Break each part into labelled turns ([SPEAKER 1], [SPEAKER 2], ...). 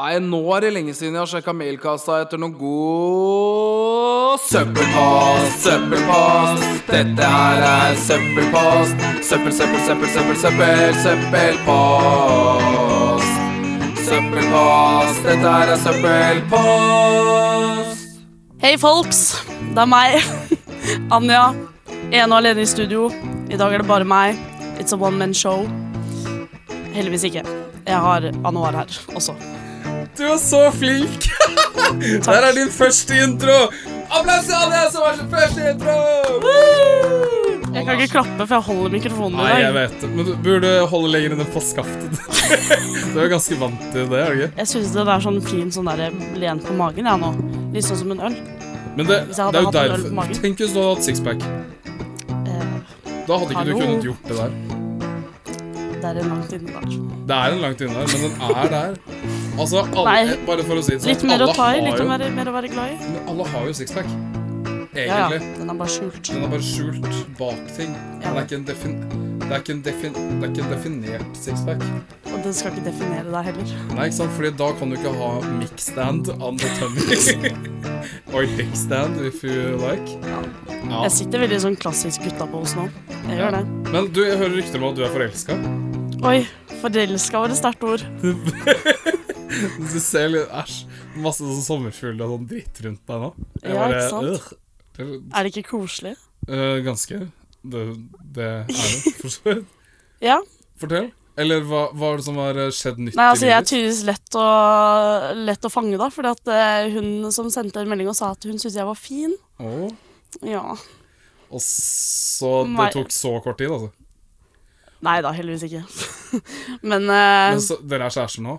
[SPEAKER 1] Nei, nå er det lenge siden jeg har sjekka mailkassa etter noen god søppelpost. Søppelpost. Dette her er søppelpost. Søppel, søppel, søppel, søppel, søppel, søppelpost. Søppelpost. Dette her er søppelpost.
[SPEAKER 2] Hei, folks. Det er meg, Anja. Ene og alene i studio. I dag er det bare meg. It's a one man show. Heldigvis ikke. Jeg har Anwar her også.
[SPEAKER 1] Du er så flink! Der er din første intro! Applaus til alle som har sin første intro!
[SPEAKER 2] Jeg kan ikke klappe, for jeg holder mikrofonen
[SPEAKER 1] Nei,
[SPEAKER 2] i
[SPEAKER 1] jeg
[SPEAKER 2] dag.
[SPEAKER 1] vet det. Men du burde holde lenger inne på skaftet. Du er jo ganske vant til det. er du ikke?
[SPEAKER 2] Jeg syns den er sånn fin sånn der lent på magen, jeg nå. Litt sånn som en øl.
[SPEAKER 1] Men det, det
[SPEAKER 2] Hvis jeg hadde
[SPEAKER 1] er jo
[SPEAKER 2] hatt en øl på
[SPEAKER 1] derfor
[SPEAKER 2] magen.
[SPEAKER 1] Tenk hvis du hadde hatt sixpack.
[SPEAKER 2] Eh,
[SPEAKER 1] Da hadde ikke du
[SPEAKER 2] Hallo?
[SPEAKER 1] kunnet gjort det der.
[SPEAKER 2] det er en langt inne der.
[SPEAKER 1] Det er en langt inne der, men den er der. Altså, alle,
[SPEAKER 2] Nei.
[SPEAKER 1] bare for å si det sånn
[SPEAKER 2] Litt mer å
[SPEAKER 1] alle
[SPEAKER 2] ta i,
[SPEAKER 1] har
[SPEAKER 2] litt
[SPEAKER 1] jo-
[SPEAKER 2] mer, mer å være glad i.
[SPEAKER 1] men Alle har jo sixpack.
[SPEAKER 2] Ja, ja.
[SPEAKER 1] Egentlig.
[SPEAKER 2] Den er bare skjult.
[SPEAKER 1] Den er bare skjult bak ting.
[SPEAKER 2] Ja.
[SPEAKER 1] Men det er ikke en defin... Det er ikke en, defin, det er ikke en definert sixpack.
[SPEAKER 2] Og den skal ikke definere deg heller.
[SPEAKER 1] Nei, ikke sant? Fordi da kan du ikke ha mic stand on the tummy. Or dick stand, if you like. Ja.
[SPEAKER 2] Jeg sitter veldig sånn klassisk gutta på oss nå. Jeg gjør det.
[SPEAKER 1] Men du, jeg hører rykter om at du er forelska.
[SPEAKER 2] Oi, forelska var et sterkt ord.
[SPEAKER 1] Du ser litt æsj. Masse sånn sommerfugler og sånn dritt rundt deg nå. Jeg
[SPEAKER 2] Ja,
[SPEAKER 1] bare,
[SPEAKER 2] ikke sant?
[SPEAKER 1] «Ugh». Det
[SPEAKER 2] Er det ikke koselig?
[SPEAKER 1] er- øh, ganske. Det, det er det, for så vidt.
[SPEAKER 2] Ja.
[SPEAKER 1] Fortell. Eller hva, hva er det som har øh, skjedd nytt
[SPEAKER 2] Nei, altså
[SPEAKER 1] i
[SPEAKER 2] jeg er
[SPEAKER 1] livet?
[SPEAKER 2] tydeligvis lett å, lett å fange, da. Fordi at eh, hun som sendte en melding og sa at hun syntes jeg var fin.
[SPEAKER 1] Åh.
[SPEAKER 2] Ja.
[SPEAKER 1] Og så Det
[SPEAKER 2] Nei.
[SPEAKER 1] tok så kort tid, altså.
[SPEAKER 2] Nei da, heldigvis ikke. Men, eh,
[SPEAKER 1] Men så, dere er kjærester nå?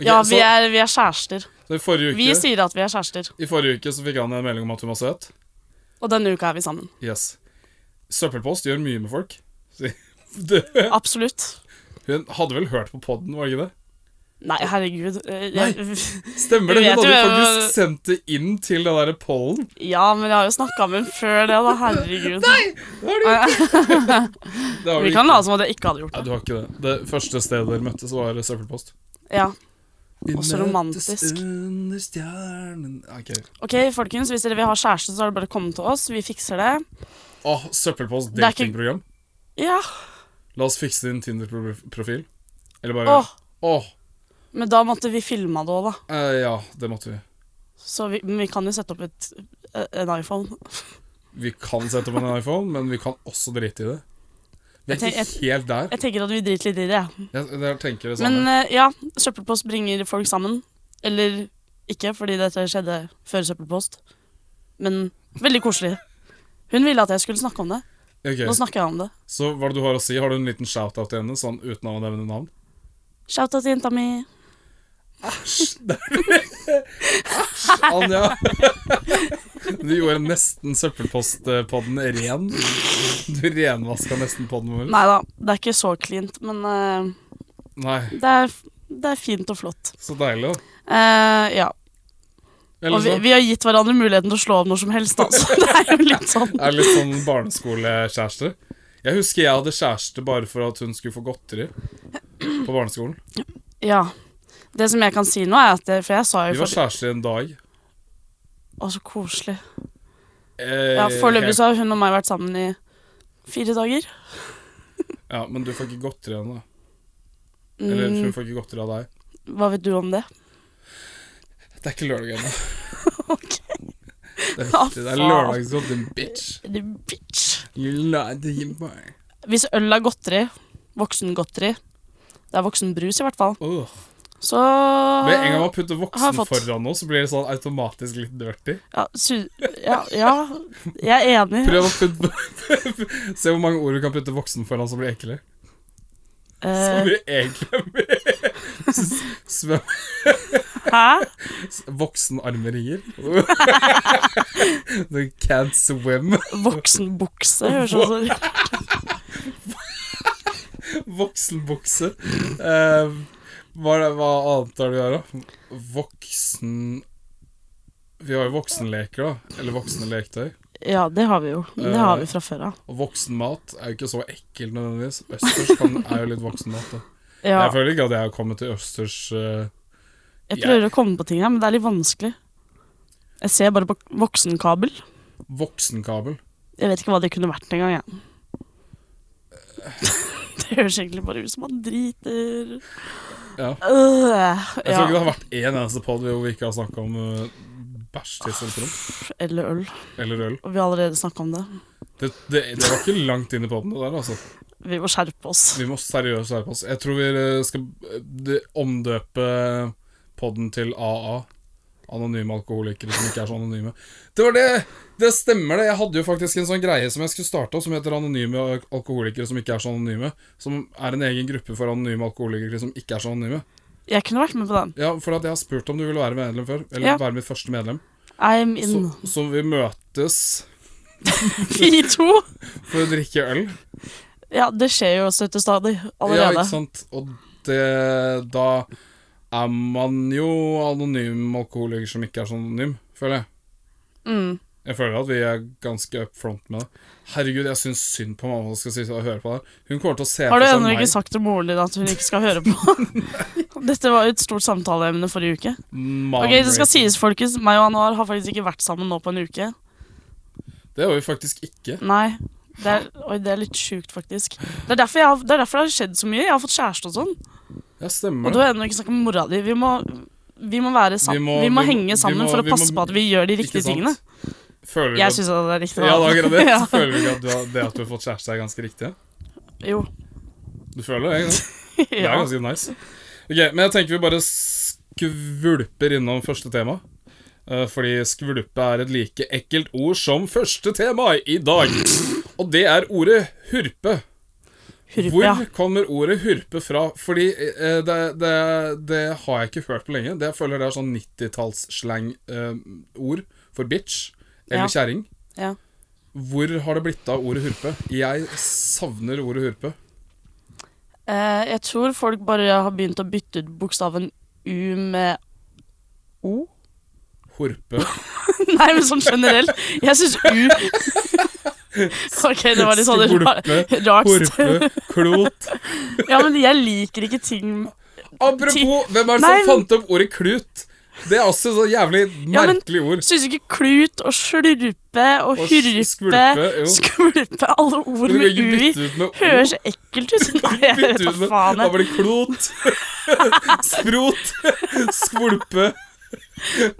[SPEAKER 1] Ok,
[SPEAKER 2] ja, vi
[SPEAKER 1] så-
[SPEAKER 2] er, vi er kjærester.
[SPEAKER 1] så i forrige uke
[SPEAKER 2] Vi sier at vi er kjærester.
[SPEAKER 1] I forrige uke så fikk han en melding om at hun var søt.
[SPEAKER 2] Og denne uka er vi sammen.
[SPEAKER 1] Yes. Søppelpost gjør mye med folk. Så- Du,
[SPEAKER 2] Absolutt.
[SPEAKER 1] hun hadde vel hørt på poden, var det ikke det?
[SPEAKER 2] Nei, herregud. Eh, Jeg,
[SPEAKER 1] Stemmer det, hun
[SPEAKER 2] Vi vet
[SPEAKER 1] hadde
[SPEAKER 2] jo-
[SPEAKER 1] faktisk sendt det inn til den derre pollen.
[SPEAKER 2] ja, men jeg har jo snakka med henne før det, da. Herregud.
[SPEAKER 1] Det har du ikke! Det har du ikke.
[SPEAKER 2] Vi kan late som at jeg ikke hadde gjort
[SPEAKER 1] Nei,
[SPEAKER 2] det.
[SPEAKER 1] du har ikke det. Det første stedet dere møttes, var søppelpost.
[SPEAKER 2] Ja.
[SPEAKER 1] Vi
[SPEAKER 2] Og så romantisk.
[SPEAKER 1] møttes under stjernen Ok.
[SPEAKER 2] OK, folkens, hvis dere vil ha kjæreste, så har det bare å komme til oss. Vi fikser det.
[SPEAKER 1] Åh, søppelpost
[SPEAKER 2] Det er ikke-
[SPEAKER 1] datingprogram.
[SPEAKER 2] Ja.
[SPEAKER 1] La oss fikse din Tinder-profil. Eller bare
[SPEAKER 2] Åh,
[SPEAKER 1] Åh,
[SPEAKER 2] men da måtte vi filma det òg, da.
[SPEAKER 1] eh, ja, det måtte vi.
[SPEAKER 2] Så vi, men vi kan jo sette opp et, eh, en iPhone.
[SPEAKER 1] Vi kan sette opp en iPhone, men vi kan også drite i det. Vi er
[SPEAKER 2] Jeg
[SPEAKER 1] ikke helt der.
[SPEAKER 2] Jeg tenker at vi driter litt i det. jeg.
[SPEAKER 1] Jeg, jeg tenker det
[SPEAKER 2] Men
[SPEAKER 1] samme.
[SPEAKER 2] eh, ja, søppelpost bringer folk sammen. Eller ikke, fordi dette skjedde før søppelpost. Men veldig koselig. Hun ville at jeg skulle snakke om det.
[SPEAKER 1] Ok,
[SPEAKER 2] eh, Nå snakker jeg om det.
[SPEAKER 1] Så hva er det du har å si? Har du en liten shout-out til henne, sånn uten å nevne navn?
[SPEAKER 2] Shout out til jenta mi.
[SPEAKER 1] Æsj! det er- Æsj, Anja! Du gjorde nesten søppelpostpodden ren. Du renvaska nesten podden vår.
[SPEAKER 2] Nei da, det er ikke så cleant, men eh,
[SPEAKER 1] Nei,
[SPEAKER 2] det, er, det er fint og flott.
[SPEAKER 1] så deilig, da.
[SPEAKER 2] Eh, ja. Og
[SPEAKER 1] Eller
[SPEAKER 2] vi,
[SPEAKER 1] så
[SPEAKER 2] vi har gitt hverandre muligheten til å slå av når som helst, da, så det er jo litt sånn.
[SPEAKER 1] er det litt sånn barneskolekjærester. Jeg husker jeg hadde kjæreste bare for at hun skulle få godteri på barneskolen.
[SPEAKER 2] Ja. Det som jeg kan si nå, er at det, For jeg sa
[SPEAKER 1] Vi
[SPEAKER 2] jo
[SPEAKER 1] var
[SPEAKER 2] for...
[SPEAKER 1] kjærester i en dag.
[SPEAKER 2] Å, så koselig.
[SPEAKER 1] Eh,
[SPEAKER 2] Ja, Foreløpig
[SPEAKER 1] helt-
[SPEAKER 2] så har hun og meg vært sammen i fire dager.
[SPEAKER 1] Ja, men du får ikke godteri av henne. Eller hun
[SPEAKER 2] Mm,
[SPEAKER 1] får ikke godteri av deg.
[SPEAKER 2] hva vet du om det?
[SPEAKER 1] Det er ikke lørdag ennå.
[SPEAKER 2] Ok.
[SPEAKER 1] Det er,
[SPEAKER 2] Ah,
[SPEAKER 1] viktig. det er
[SPEAKER 2] faen.
[SPEAKER 1] lørdagsgodteri, bitch.
[SPEAKER 2] Du bitch.
[SPEAKER 1] You lied to him, boy.
[SPEAKER 2] Hvis øl er godteri, voksengodteri Det er voksenbrus, i hvert fall.
[SPEAKER 1] Åh.
[SPEAKER 2] Så
[SPEAKER 1] Med en gang man putter
[SPEAKER 2] Ah, Har
[SPEAKER 1] voksen
[SPEAKER 2] fått.
[SPEAKER 1] foran nå, så blir det sånn automatisk litt dirty.
[SPEAKER 2] ja, su ja, ja, jeg er enig.
[SPEAKER 1] Prøv å putte Se hvor mange ord du kan putte voksen foran som blir ekle. Som
[SPEAKER 2] Eh,
[SPEAKER 1] blir ekle med
[SPEAKER 2] hæ?
[SPEAKER 1] Voksenarmeringer. Du can't swim.
[SPEAKER 2] Voksenbukse, høres det sånn ut.
[SPEAKER 1] Voksenbukse. Eh, hva, er det- hva annet er det vi har, da? Voksen... Vi har jo voksenleker, da. Eller voksne leketøy.
[SPEAKER 2] Ja, det har vi jo. Det har vi fra før av.
[SPEAKER 1] Og voksenmat er jo ikke så ekkelt nødvendigvis. Østers kan, er jo litt voksenmat, da.
[SPEAKER 2] Ja.
[SPEAKER 1] Jeg føler ikke at jeg har kommet til østers eh,
[SPEAKER 2] Jeg prøver å komme på ting her, men det er litt vanskelig. Jeg ser bare på voksenkabel.
[SPEAKER 1] Voksenkabel.
[SPEAKER 2] Jeg vet ikke hva det kunne vært engang, jeg. det høres egentlig bare ut som han driter.
[SPEAKER 1] Ja.
[SPEAKER 2] Øh,
[SPEAKER 1] Jeg tror ikke det
[SPEAKER 2] ja.
[SPEAKER 1] har vært én eneste pod hvor vi ikke har snakka om eh, bæsj, tiss eller promp.
[SPEAKER 2] Eller øl.
[SPEAKER 1] Eller øl.
[SPEAKER 2] Og vi har allerede snakka om det.
[SPEAKER 1] Det, det, det var ikke langt inn i poden, det der, altså.
[SPEAKER 2] Vi må skjerpe oss.
[SPEAKER 1] Vi må seriøst skjerpe oss. Jeg tror vi eh, skal eh, de- omdøpe eh, podden til AA. Anonyme alkoholikere som ikke er så anonyme. Det var det! Det stemmer, det. Jeg hadde jo faktisk en sånn greie som jeg skulle starte opp, som heter Anonyme al- alkoholikere som ikke er så anonyme. Som er en egen gruppe for anonyme alkoholikere som ikke er så anonyme.
[SPEAKER 2] Jeg kunne vært med på den.
[SPEAKER 1] Ja, for at jeg har spurt om du ville være medlem før. Eller
[SPEAKER 2] Ja.
[SPEAKER 1] være mitt første medlem.
[SPEAKER 2] I'm in.
[SPEAKER 1] Så, så vi møtes
[SPEAKER 2] Vi to.
[SPEAKER 1] for å drikke øl.
[SPEAKER 2] Ja, det skjer jo støtte stadig
[SPEAKER 1] Ja,
[SPEAKER 2] allerede.
[SPEAKER 1] ikke sant? Og det, da er man jo anonym alkoholiker som ikke er så anonym, føler jeg.
[SPEAKER 2] mm.
[SPEAKER 1] Jeg føler at vi er ganske up front med det. Herregud, jeg syns synd på mamma som skal sitte og høre på det her. Hun kommer til å se
[SPEAKER 2] Har du
[SPEAKER 1] for seg
[SPEAKER 2] ennå
[SPEAKER 1] meg.
[SPEAKER 2] ikke sagt til moren din at hun ikke skal høre på? Dette var jo et stort samtaleemne forrige uke.
[SPEAKER 1] Mom
[SPEAKER 2] Ok, Det skal
[SPEAKER 1] rating.
[SPEAKER 2] sies, folkens. Meg og Anwar har faktisk ikke vært sammen nå på en uke.
[SPEAKER 1] Det har vi faktisk ikke.
[SPEAKER 2] Nei. Det er, oi, det er litt sjukt, faktisk. Det er, derfor jeg har, det er derfor det har skjedd så mye. Jeg har fått kjæreste og sånn.
[SPEAKER 1] Ja,
[SPEAKER 2] Og
[SPEAKER 1] stemmer
[SPEAKER 2] du
[SPEAKER 1] det.
[SPEAKER 2] har ennå ikke snakka med mora di. Vi må, vi må være sammen. Vi må, henge sammen
[SPEAKER 1] vi må-
[SPEAKER 2] for å
[SPEAKER 1] vi
[SPEAKER 2] passe
[SPEAKER 1] må-
[SPEAKER 2] på at vi gjør de
[SPEAKER 1] Ikke
[SPEAKER 2] riktige
[SPEAKER 1] sant?
[SPEAKER 2] tingene.
[SPEAKER 1] Føler du
[SPEAKER 2] Jeg
[SPEAKER 1] at,
[SPEAKER 2] syns det er riktig.
[SPEAKER 1] ja, da, akkurat det.
[SPEAKER 2] Ja.
[SPEAKER 1] Føler du ikke at du har, det at du har fått kjæreste, er ganske riktig?
[SPEAKER 2] Jo.
[SPEAKER 1] Du føler det? Ikke sant? Det er
[SPEAKER 2] Ja.
[SPEAKER 1] ganske nice. Ok, Men jeg tenker vi bare skvulper innom første tema. Eh, Fordi skvulpe er et like ekkelt ord som første tema i dag. Og det er ordet hurpe.
[SPEAKER 2] Hurp,
[SPEAKER 1] Hvor
[SPEAKER 2] ja.
[SPEAKER 1] kommer ordet hurpe fra? Fordi eh, det, det, det har jeg ikke hørt på lenge. Det jeg føler det er sånn 90-tallsslang-ord for bitch eller
[SPEAKER 2] Ja.
[SPEAKER 1] kjerring.
[SPEAKER 2] Ja.
[SPEAKER 1] Hvor har det blitt av ordet hurpe? Jeg savner ordet hurpe.
[SPEAKER 2] Eh, jeg tror folk bare har begynt å bytte ut bokstaven U med O.
[SPEAKER 1] Horpe.
[SPEAKER 2] Nei, men sånn generelt. Jeg syns U Ok, det var litt sånn ra-
[SPEAKER 1] Skvulpe,
[SPEAKER 2] rart.
[SPEAKER 1] Horpe, klot
[SPEAKER 2] Ja, men jeg liker ikke ting
[SPEAKER 1] Apropos, hvem er det
[SPEAKER 2] Nei,
[SPEAKER 1] som
[SPEAKER 2] men-
[SPEAKER 1] fant opp ordet klut? Det er også så jævlig
[SPEAKER 2] Ja, men-
[SPEAKER 1] merkelig ord.
[SPEAKER 2] Syns ikke klut og slurpe og
[SPEAKER 1] Og
[SPEAKER 2] hyrpe
[SPEAKER 1] skvulpe, jo.
[SPEAKER 2] Skvulpe, alle
[SPEAKER 1] Du
[SPEAKER 2] ord
[SPEAKER 1] kan
[SPEAKER 2] med
[SPEAKER 1] ikke
[SPEAKER 2] u i
[SPEAKER 1] bytte ut med ord.
[SPEAKER 2] høres så ekkelt ut. Nei, jeg vet
[SPEAKER 1] Bytte
[SPEAKER 2] da
[SPEAKER 1] ut med
[SPEAKER 2] faen.
[SPEAKER 1] Da
[SPEAKER 2] jeg.
[SPEAKER 1] blir det klot, sprot, skvulpe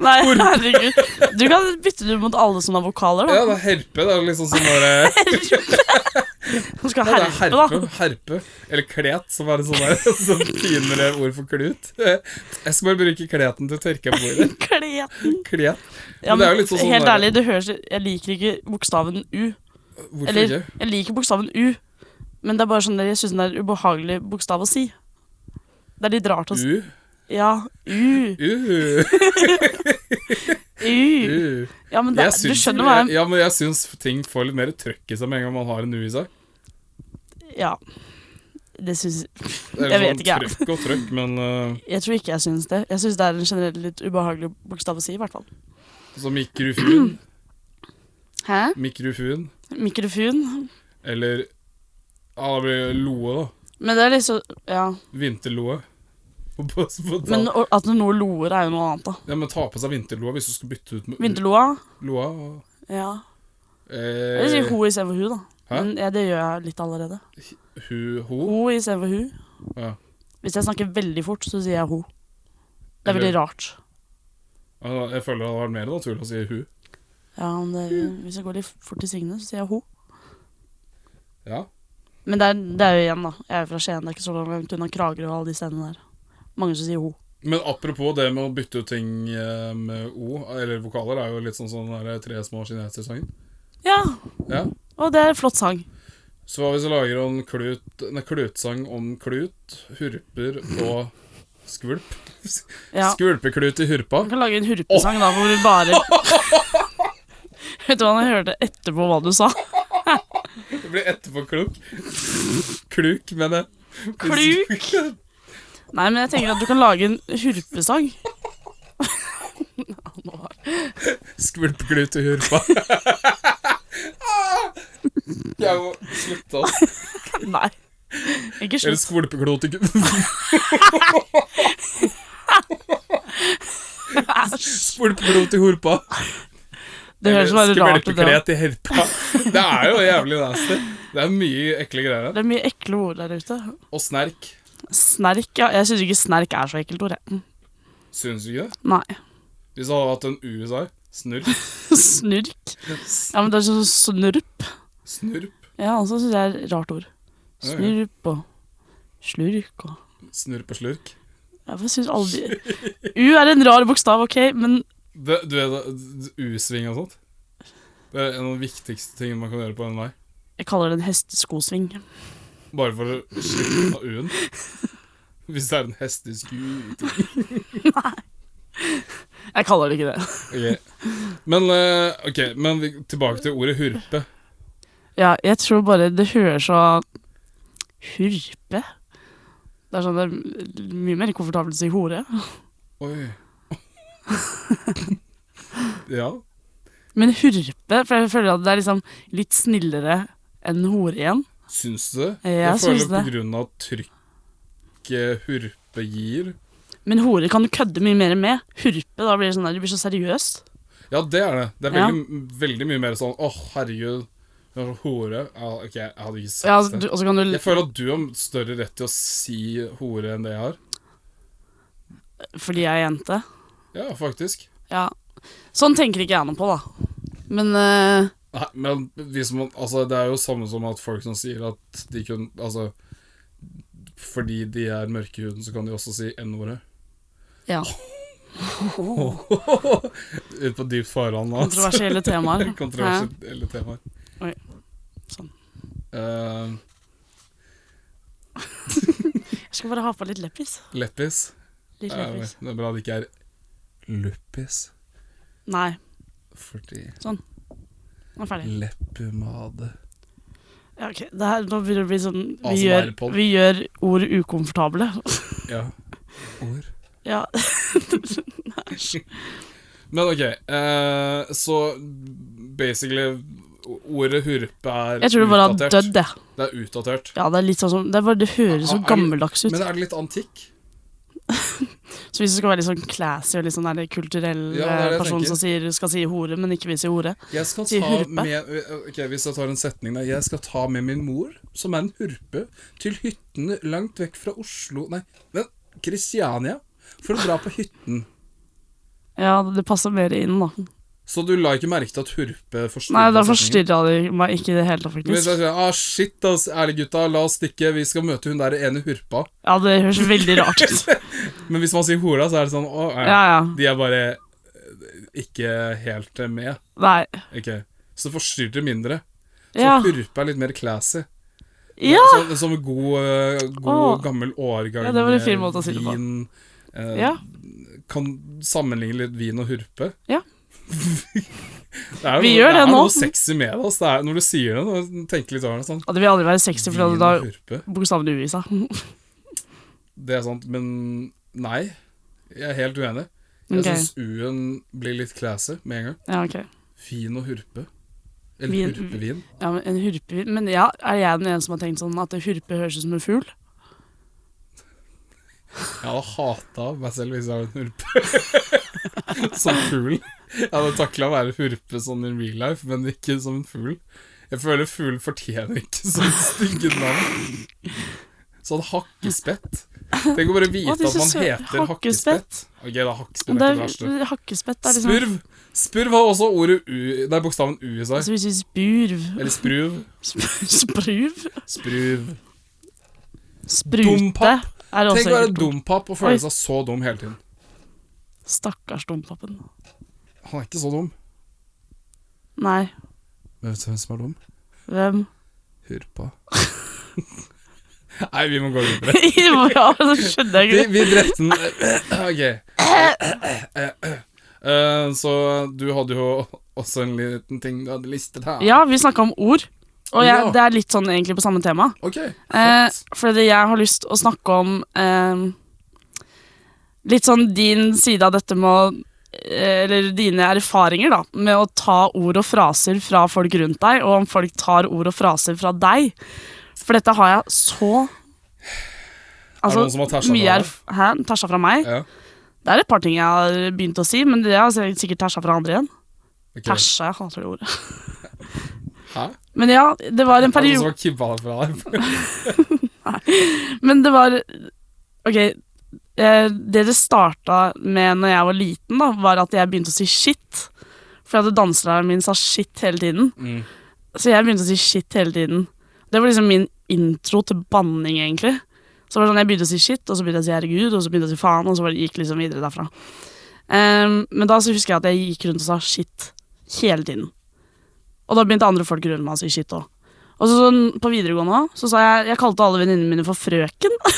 [SPEAKER 2] Nei, herregud. Du kan bytte det ut mot alle sånne vokaler,
[SPEAKER 1] Ja, det
[SPEAKER 2] da.
[SPEAKER 1] er herpe. Det er liksom sånn bare
[SPEAKER 2] Du skal
[SPEAKER 1] ja, det er
[SPEAKER 2] herpe, da.
[SPEAKER 1] herpe, herpe. Eller klet, som er et sånn der- sånn finere ord for klut. Jeg skal bare bruke kleten til å tørke på ordet.
[SPEAKER 2] Kleten.
[SPEAKER 1] Klet.
[SPEAKER 2] Ja,
[SPEAKER 1] Men det er jo
[SPEAKER 2] men
[SPEAKER 1] litt sånn sånn
[SPEAKER 2] helt
[SPEAKER 1] der-
[SPEAKER 2] ærlig, det høres Jeg liker ikke bokstaven U.
[SPEAKER 1] Hvorfor
[SPEAKER 2] Eller,
[SPEAKER 1] ikke?
[SPEAKER 2] jeg liker bokstaven U, men det er bare sånn der, jeg syns den er en ubehagelig bokstav å si. Det er litt rart å si.
[SPEAKER 1] U.
[SPEAKER 2] Ja, U.
[SPEAKER 1] U.
[SPEAKER 2] U.
[SPEAKER 1] U.
[SPEAKER 2] Ja, men det,
[SPEAKER 1] jeg
[SPEAKER 2] du
[SPEAKER 1] syns,
[SPEAKER 2] skjønner hva jeg
[SPEAKER 1] Ja, men jeg syns ting får litt mer trøkk i seg med en gang man har en nu i seg.
[SPEAKER 2] Ja. Det syns
[SPEAKER 1] Det er
[SPEAKER 2] Jeg
[SPEAKER 1] sånn
[SPEAKER 2] vet ikke, jeg.
[SPEAKER 1] Trøkk og trøkk, men eh,
[SPEAKER 2] Jeg tror ikke jeg syns det. Jeg syns det er en generelt litt ubehagelig bokstav å si, i hvert fall.
[SPEAKER 1] som mikrofon,
[SPEAKER 2] Hæ?
[SPEAKER 1] mikrofon
[SPEAKER 2] Mikrofon?
[SPEAKER 1] eller Ja, da blir det loe, da.
[SPEAKER 2] Men det er liksom Ja.
[SPEAKER 1] Vinterloe. På- på- på-
[SPEAKER 2] Men å- at noe loer er jo noe annet, da.
[SPEAKER 1] ja, men ta på seg vinterloa hvis du skal bytte ut med
[SPEAKER 2] Vinterloa?
[SPEAKER 1] loa.
[SPEAKER 2] Ja.
[SPEAKER 1] Eh,
[SPEAKER 2] Eller si ho istedenfor hu, da.
[SPEAKER 1] Hæ?
[SPEAKER 2] Men ja, det gjør jeg litt allerede.
[SPEAKER 1] Hu, ho.
[SPEAKER 2] Ho istedenfor hu.
[SPEAKER 1] Ja.
[SPEAKER 2] Hvis jeg snakker veldig fort, så sier jeg ho. Det er veldig rart.
[SPEAKER 1] Ja, Jeg føler det hadde vært mer naturlig å si hu.
[SPEAKER 2] Ja, men det, Hvis jeg går litt fort i svingene, så sier jeg ho.
[SPEAKER 1] Ja.
[SPEAKER 2] Men det er, det er jo igjen, da. Jeg er jo fra Skien, det er ikke så langt unna Kragerø og alle de stedene der. Mange som sier ho.
[SPEAKER 1] Men apropos det med å bytte ut ting eh, med o, eller vokaler, er jo litt sånn sånn der tre små kineser-sangen.
[SPEAKER 2] Ja,
[SPEAKER 1] Ja.
[SPEAKER 2] og det er en flott sang.
[SPEAKER 1] Så hva hvis jeg lager en klut, nei, klutsang om klut, hurper og skvulp?
[SPEAKER 2] Ja.
[SPEAKER 1] Skvulpeklut i hurpa?
[SPEAKER 2] Du kan lage en hurpesang, da, hvor du bare Vet du hva, når jeg hørte etterpå hva du sa
[SPEAKER 1] Det blir etterpå kluk. Kluk, mener jeg.
[SPEAKER 2] Kluk? Nei, men jeg tenker at du kan lage en hurpesang.
[SPEAKER 1] Skvulpeklut i hurpa. Ah! Jeg må slutte, altså.
[SPEAKER 2] Nei. Ikke
[SPEAKER 1] Eller
[SPEAKER 2] slutt.
[SPEAKER 1] skvulpeklut i gu- Spurt blod til horpa.
[SPEAKER 2] Det høres veldig rart ut. det.
[SPEAKER 1] Skvelpeklet i herpa. Det er jo jævlig nasty. Det er mye ekle greier her.
[SPEAKER 2] Det er mye ekle ord der ute.
[SPEAKER 1] Og snerk.
[SPEAKER 2] Snerk, ja. Jeg syns ikke snerk er så ekkelt ord, jeg. Mm,
[SPEAKER 1] Syns du ikke det?
[SPEAKER 2] Nei.
[SPEAKER 1] Hvis du hadde hatt en USA, snurp,
[SPEAKER 2] Snurk. Ja, men det er sånn snurp.
[SPEAKER 1] snurp,
[SPEAKER 2] Ja, altså syns jeg er et rart ord. Snurp og slurk og
[SPEAKER 1] snurp og slurk.
[SPEAKER 2] Jeg syns aldri U er en rar bokstav, OK, men
[SPEAKER 1] Det, du vet U-sving og sånt? Det er en av de viktigste tingene man kan gjøre på en vei.
[SPEAKER 2] jeg kaller det en hesteskosving.
[SPEAKER 1] Bare for å slippe av U-en. Hvis det er en hesteskute.
[SPEAKER 2] Jeg kaller det ikke det.
[SPEAKER 1] Ok. Men, eh, ok, men vi, tilbake til ordet hurpe.
[SPEAKER 2] Ja, jeg tror bare det høres så Hurpe? Det er sånn det er mye mer komfortabelt å si hore.
[SPEAKER 1] Oi. ja.
[SPEAKER 2] Men hurpe, for jeg føler at det er liksom litt snillere enn hore igjen.
[SPEAKER 1] Syns du det?
[SPEAKER 2] Jeg
[SPEAKER 1] føler
[SPEAKER 2] syns det.
[SPEAKER 1] på grunn av trykket hurpe gir.
[SPEAKER 2] Men hore kan du kødde mye mer med. Hurpe, da blir det sånn der, du blir så seriøs.
[SPEAKER 1] Ja, det er det. Det er
[SPEAKER 2] Ja.
[SPEAKER 1] veldig, veldig mye mer sånn Å, herregud, du er så hore. Ja, ok, jeg hadde ikke sagt
[SPEAKER 2] Ja,
[SPEAKER 1] det.
[SPEAKER 2] du, og så kan du
[SPEAKER 1] Jeg føler at du har større rett til å si hore enn det jeg har.
[SPEAKER 2] Fordi jeg er jente.
[SPEAKER 1] Ja, faktisk.
[SPEAKER 2] Ja. Sånn tenker ikke jeg noe på, da. Men eh,
[SPEAKER 1] Nei, men hvis man, altså, det er jo samme som at folk som sier at de kun Altså fordi de er mørke i huden, så kan de også si n-ordet.
[SPEAKER 2] ja.
[SPEAKER 1] Ut på dypt farvann. altså.
[SPEAKER 2] Kontroversielle temaer. Hæ?
[SPEAKER 1] Kontroversielle temaer.
[SPEAKER 2] Oi. Sånn.
[SPEAKER 1] Eh,
[SPEAKER 2] Jeg skal bare ha på litt leppis.
[SPEAKER 1] leppis.
[SPEAKER 2] Litt
[SPEAKER 1] Ja,
[SPEAKER 2] leppis.
[SPEAKER 1] Eh, Det er bra det ikke er luppis,
[SPEAKER 2] Nei,
[SPEAKER 1] fordi
[SPEAKER 2] nå er jeg ferdig.
[SPEAKER 1] leppepomade
[SPEAKER 2] Ja, ok. Det her, nå begynner det å bli sånn vi gjør,
[SPEAKER 1] ASMR-pod.
[SPEAKER 2] vi gjør ord ukomfortable.
[SPEAKER 1] Ja. Ord.
[SPEAKER 2] ja.
[SPEAKER 1] Men ok, eh, så basically o- Ordet hurpe er
[SPEAKER 2] Jeg tror det bare har
[SPEAKER 1] utdatert.
[SPEAKER 2] dødd, jeg.
[SPEAKER 1] Det er utdatert.
[SPEAKER 2] Ja, det er litt sånn som Det, er bare, det høres så
[SPEAKER 1] Ah, Er det-
[SPEAKER 2] gammeldags ut.
[SPEAKER 1] Men er det litt antikk?
[SPEAKER 2] Så hvis du skal være litt sånn classy og litt sånn der kulturell
[SPEAKER 1] Ja, det er
[SPEAKER 2] eh,
[SPEAKER 1] det jeg
[SPEAKER 2] person
[SPEAKER 1] tenker.
[SPEAKER 2] som sier, skal si hore, men ikke vil si hore
[SPEAKER 1] Jeg skal
[SPEAKER 2] Til
[SPEAKER 1] ta
[SPEAKER 2] hurpe?
[SPEAKER 1] med Ok, Hvis jeg tar en setning der Jeg skal ta med min mor, som er en hurpe, til hyttene langt vekk fra Oslo Nei, men Kristiania. For å dra på hytten.
[SPEAKER 2] Ja, det passer mer inn, da.
[SPEAKER 1] Så du la ikke merke til at hurpe forstyrret
[SPEAKER 2] Nei, da
[SPEAKER 1] setningen?
[SPEAKER 2] forstyrra de meg ikke i det hele tatt,
[SPEAKER 1] Men Hvis
[SPEAKER 2] faktisk.
[SPEAKER 1] jeg sier ah, shit, ass, ærlig gutta, la oss stikke, vi skal møte hun der ene hurpa.
[SPEAKER 2] Ja, det høres veldig rart ut.
[SPEAKER 1] Men hvis man sier hora, så er det sånn å, nei.
[SPEAKER 2] Ja, ja.
[SPEAKER 1] De er bare eh, ikke helt eh, med.
[SPEAKER 2] Nei.
[SPEAKER 1] Ok, Så det forstyrrer mindre. Så
[SPEAKER 2] Ja.
[SPEAKER 1] hurpe er litt mer classy.
[SPEAKER 2] ja.
[SPEAKER 1] Som, som en god, eh, god
[SPEAKER 2] Åh.
[SPEAKER 1] gammel årgang
[SPEAKER 2] Ja, det var en
[SPEAKER 1] eh,
[SPEAKER 2] fin måte å si det på.
[SPEAKER 1] vin, eh,
[SPEAKER 2] Ja.
[SPEAKER 1] Kan sammenligne litt vin og hurpe.
[SPEAKER 2] Ja.
[SPEAKER 1] det er, jo-
[SPEAKER 2] Vi gjør det
[SPEAKER 1] det er
[SPEAKER 2] nå.
[SPEAKER 1] noe sexy med det. Altså. det er, når du sier det, nå tenker litt over det. Sånn.
[SPEAKER 2] Og det vil aldri være sexy, for
[SPEAKER 1] Vin
[SPEAKER 2] da
[SPEAKER 1] og hurpe.
[SPEAKER 2] bokstaven du i seg.
[SPEAKER 1] Det er sant, men nei. Jeg er helt uenig. Jeg
[SPEAKER 2] Ok.
[SPEAKER 1] syns U-en blir litt classy med en gang.
[SPEAKER 2] Ja, ok.
[SPEAKER 1] Fin og hurpe. Eller
[SPEAKER 2] Vin-
[SPEAKER 1] hurpevin.
[SPEAKER 2] Ja, men en hurpe Men ja, er jeg den eneste som har tenkt sånn at en hurpe høres ut som en fugl?
[SPEAKER 1] Jeg hadde hata meg selv hvis jeg var en hurpe. som fugl. Jeg hadde takla å være hurpe sånn in real life, men ikke som en fugl. Jeg føler fugl fortjener ikke sånne stygge navn. Sånn hakkespett. Tenk å bare vite
[SPEAKER 2] Å, det er
[SPEAKER 1] at
[SPEAKER 2] så
[SPEAKER 1] man
[SPEAKER 2] sø-
[SPEAKER 1] heter
[SPEAKER 2] hakkespett.
[SPEAKER 1] hakkespett. Ok, da hakkespett er
[SPEAKER 2] Det
[SPEAKER 1] ikke det verste.
[SPEAKER 2] er hakkespett. Det er liksom
[SPEAKER 1] Spurv. Spurv har også ordet u... Nei, bokstaven u i seg.
[SPEAKER 2] Så Altså, hvis vi spurv
[SPEAKER 1] Eller spruv.
[SPEAKER 2] sp- Spruv?
[SPEAKER 1] Spruv.
[SPEAKER 2] Sprute
[SPEAKER 1] Dompapp.
[SPEAKER 2] er også
[SPEAKER 1] Tenk å være
[SPEAKER 2] helt-
[SPEAKER 1] dompap og føle
[SPEAKER 2] Oi.
[SPEAKER 1] seg så dum hele tiden.
[SPEAKER 2] Stakkars dompappen.
[SPEAKER 1] Han er ikke så dum.
[SPEAKER 2] Nei,
[SPEAKER 1] Men vet du hvem som er dum?
[SPEAKER 2] hvem
[SPEAKER 1] Hurpa. Nei, vi må gå videre.
[SPEAKER 2] Ja, så skjønner jeg
[SPEAKER 1] Vi,
[SPEAKER 2] ikke det.
[SPEAKER 1] vi drepte den Ok. Eh, Så du hadde jo også en liten ting du hadde listet her.
[SPEAKER 2] Ja, vi snakka om ord. Og
[SPEAKER 1] Ja.
[SPEAKER 2] jeg, det er litt sånn egentlig på samme tema.
[SPEAKER 1] Ok.
[SPEAKER 2] Eh,
[SPEAKER 1] Fett.
[SPEAKER 2] fordi jeg har lyst å snakke om eh, litt sånn din side av dette med å eh, Eller dine erfaringer, da, med å ta ord og fraser fra folk rundt deg, og om folk tar ord og fraser fra deg. For dette har jeg så altså,
[SPEAKER 1] noen som har tæsja fra
[SPEAKER 2] mye
[SPEAKER 1] deg?
[SPEAKER 2] erf- Hæ? Tæsja fra meg?
[SPEAKER 1] Ja.
[SPEAKER 2] Det er et par ting jeg har begynt å si, men det har jeg sikkert tæsja fra andre igjen.
[SPEAKER 1] Ok.
[SPEAKER 2] Tæsja, jeg hater det ordet.
[SPEAKER 1] Hæ?
[SPEAKER 2] Men ja, det var
[SPEAKER 1] Er det
[SPEAKER 2] en
[SPEAKER 1] noen
[SPEAKER 2] periode
[SPEAKER 1] som har kibba deg fra deg?
[SPEAKER 2] Men det var Ok, eh, det det starta med når jeg var liten, da, var at jeg begynte å si shit. For at danselæreren min sa shit hele tiden.
[SPEAKER 1] Mm.
[SPEAKER 2] Så jeg begynte å si shit hele tiden. Det var liksom min intro til banning, egentlig. Så det var sånn, Jeg begynte å si shit, og så begynte jeg å si herregud, og så begynte jeg å si faen, og så var det, gikk liksom videre derfra. Ehm, men da så husker jeg at jeg gikk rundt og sa shit hele tiden. Og da begynte andre folk rundt meg å si shit òg. Og så sånn, på videregående også, så sa jeg Jeg kalte alle venninnene mine for frøken.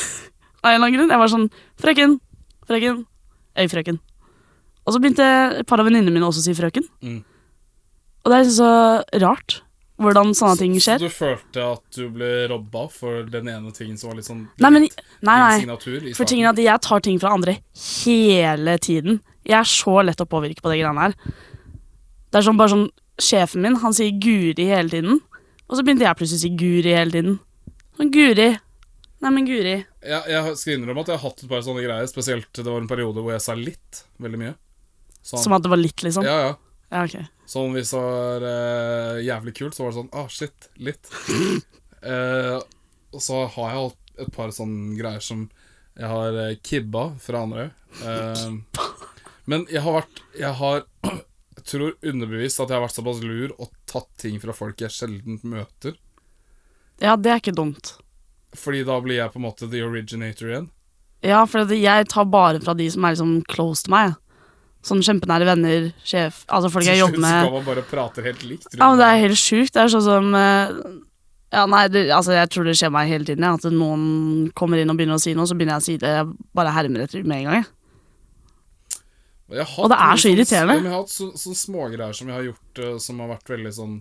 [SPEAKER 2] Av en eller annen grunn. Jeg var sånn Frøken, frøken, øy, frøken. Og så begynte et par av venninnene mine også å si frøken.
[SPEAKER 1] Mm.
[SPEAKER 2] Og det er liksom så rart hvordan sånne ting
[SPEAKER 1] Så
[SPEAKER 2] skjer.
[SPEAKER 1] du følte at du ble robba for den ene tingen som var litt sånn
[SPEAKER 2] Nei, men Nei,
[SPEAKER 1] din
[SPEAKER 2] nei.
[SPEAKER 1] signatur i
[SPEAKER 2] For
[SPEAKER 1] starten?
[SPEAKER 2] tingen er at jeg tar ting fra andre hele tiden. Jeg er så lett å påvirke på det greiene her. Det er sånn bare sånn Sjefen min, han sier Guri hele tiden. Og så begynte jeg plutselig å si Guri hele tiden. Sånn Guri. Nei, men Guri.
[SPEAKER 1] Jeg, jeg skal innrømme at jeg har hatt et par sånne greier, spesielt det var en periode hvor jeg sa litt veldig mye. Sånn,
[SPEAKER 2] Som at det var litt, liksom.
[SPEAKER 1] ja, ja.
[SPEAKER 2] Ja, ok.
[SPEAKER 1] sånn hvis det var eh, jævlig kult, så var det sånn ah, shit, litt. Eh, og så har jeg hatt et par sånne greier som jeg har eh, kibba fra andre. Eh, men jeg har vært Jeg har jeg tror underbevisst at jeg har vært såpass lur og tatt ting fra folk jeg sjelden møter.
[SPEAKER 2] Ja, det er ikke dumt.
[SPEAKER 1] Fordi da blir jeg på en måte the originator igjen.
[SPEAKER 2] Ja, for at jeg tar bare fra de som er liksom close til meg. Sånn kjempenære venner, sjef Altså folk jeg jobber
[SPEAKER 1] Så
[SPEAKER 2] med.
[SPEAKER 1] kan man bare prate helt likt. rundt
[SPEAKER 2] Ja, men det er
[SPEAKER 1] meg.
[SPEAKER 2] helt sjukt. Det er sånn som eh, Ja, nei, det, altså jeg tror det skjer meg hele tiden. Ja. At noen kommer inn og begynner å si noe, så begynner jeg å si det. Jeg bare hermer etter med en gang. jeg.
[SPEAKER 1] Og jeg har
[SPEAKER 2] Og det
[SPEAKER 1] hatt
[SPEAKER 2] er så
[SPEAKER 1] noen
[SPEAKER 2] irriterende.
[SPEAKER 1] sånne- men Jeg har hatt så, sånne smågreier som jeg har gjort, eh, som har vært veldig sånn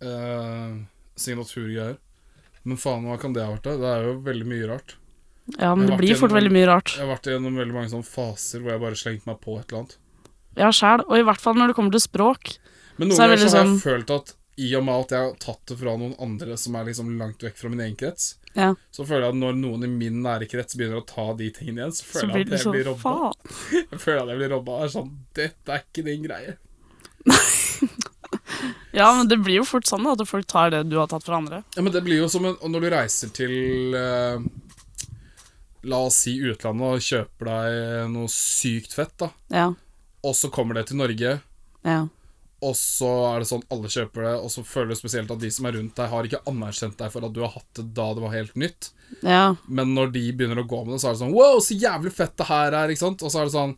[SPEAKER 1] eh, Signaturgreier. Men faen, hva kan det ha vært? da? Det er jo veldig mye rart.
[SPEAKER 2] Ja, men
[SPEAKER 1] Jeg
[SPEAKER 2] det
[SPEAKER 1] har
[SPEAKER 2] blir
[SPEAKER 1] ikke
[SPEAKER 2] fort
[SPEAKER 1] noen-
[SPEAKER 2] veldig mye rart.
[SPEAKER 1] Jeg har vært gjennom veldig mange sånne faser hvor jeg bare slengte meg på et eller annet.
[SPEAKER 2] Ja, sjæl. Og i hvert fall når det kommer til språk.
[SPEAKER 1] Men
[SPEAKER 2] Så
[SPEAKER 1] noen
[SPEAKER 2] er det
[SPEAKER 1] ganger så har jeg
[SPEAKER 2] liksom-
[SPEAKER 1] følt at i og med at jeg har tatt det fra noen andre som er liksom langt vekk fra min egen krets,
[SPEAKER 2] Ja,
[SPEAKER 1] så føler jeg at når noen i min nære krets begynner å ta de tingene igjen, så
[SPEAKER 2] så
[SPEAKER 1] føler
[SPEAKER 2] blir
[SPEAKER 1] jeg
[SPEAKER 2] det
[SPEAKER 1] at jeg
[SPEAKER 2] sånn
[SPEAKER 1] blir robba.
[SPEAKER 2] Faen.
[SPEAKER 1] Jeg føler at jeg blir robba. Jeg er sånn Dette er ikke din greie.
[SPEAKER 2] Ja, men det blir jo fort sånn da, at folk tar det du har tatt fra andre.
[SPEAKER 1] Ja, men det blir jo som en, og Når du reiser til eh, La oss si utlandet og kjøper deg noe sykt fett, da.
[SPEAKER 2] Ja.
[SPEAKER 1] Og så kommer det til Norge,
[SPEAKER 2] Ja.
[SPEAKER 1] og så er det sånn alle kjøper det, og så føler du spesielt at de som er rundt deg, har ikke anerkjent deg for at du har hatt det da det var helt nytt.
[SPEAKER 2] ja.
[SPEAKER 1] Men når de begynner å gå med det, så er det sånn Wow, så jævlig fett det her er, ikke sant? Og så er det sånn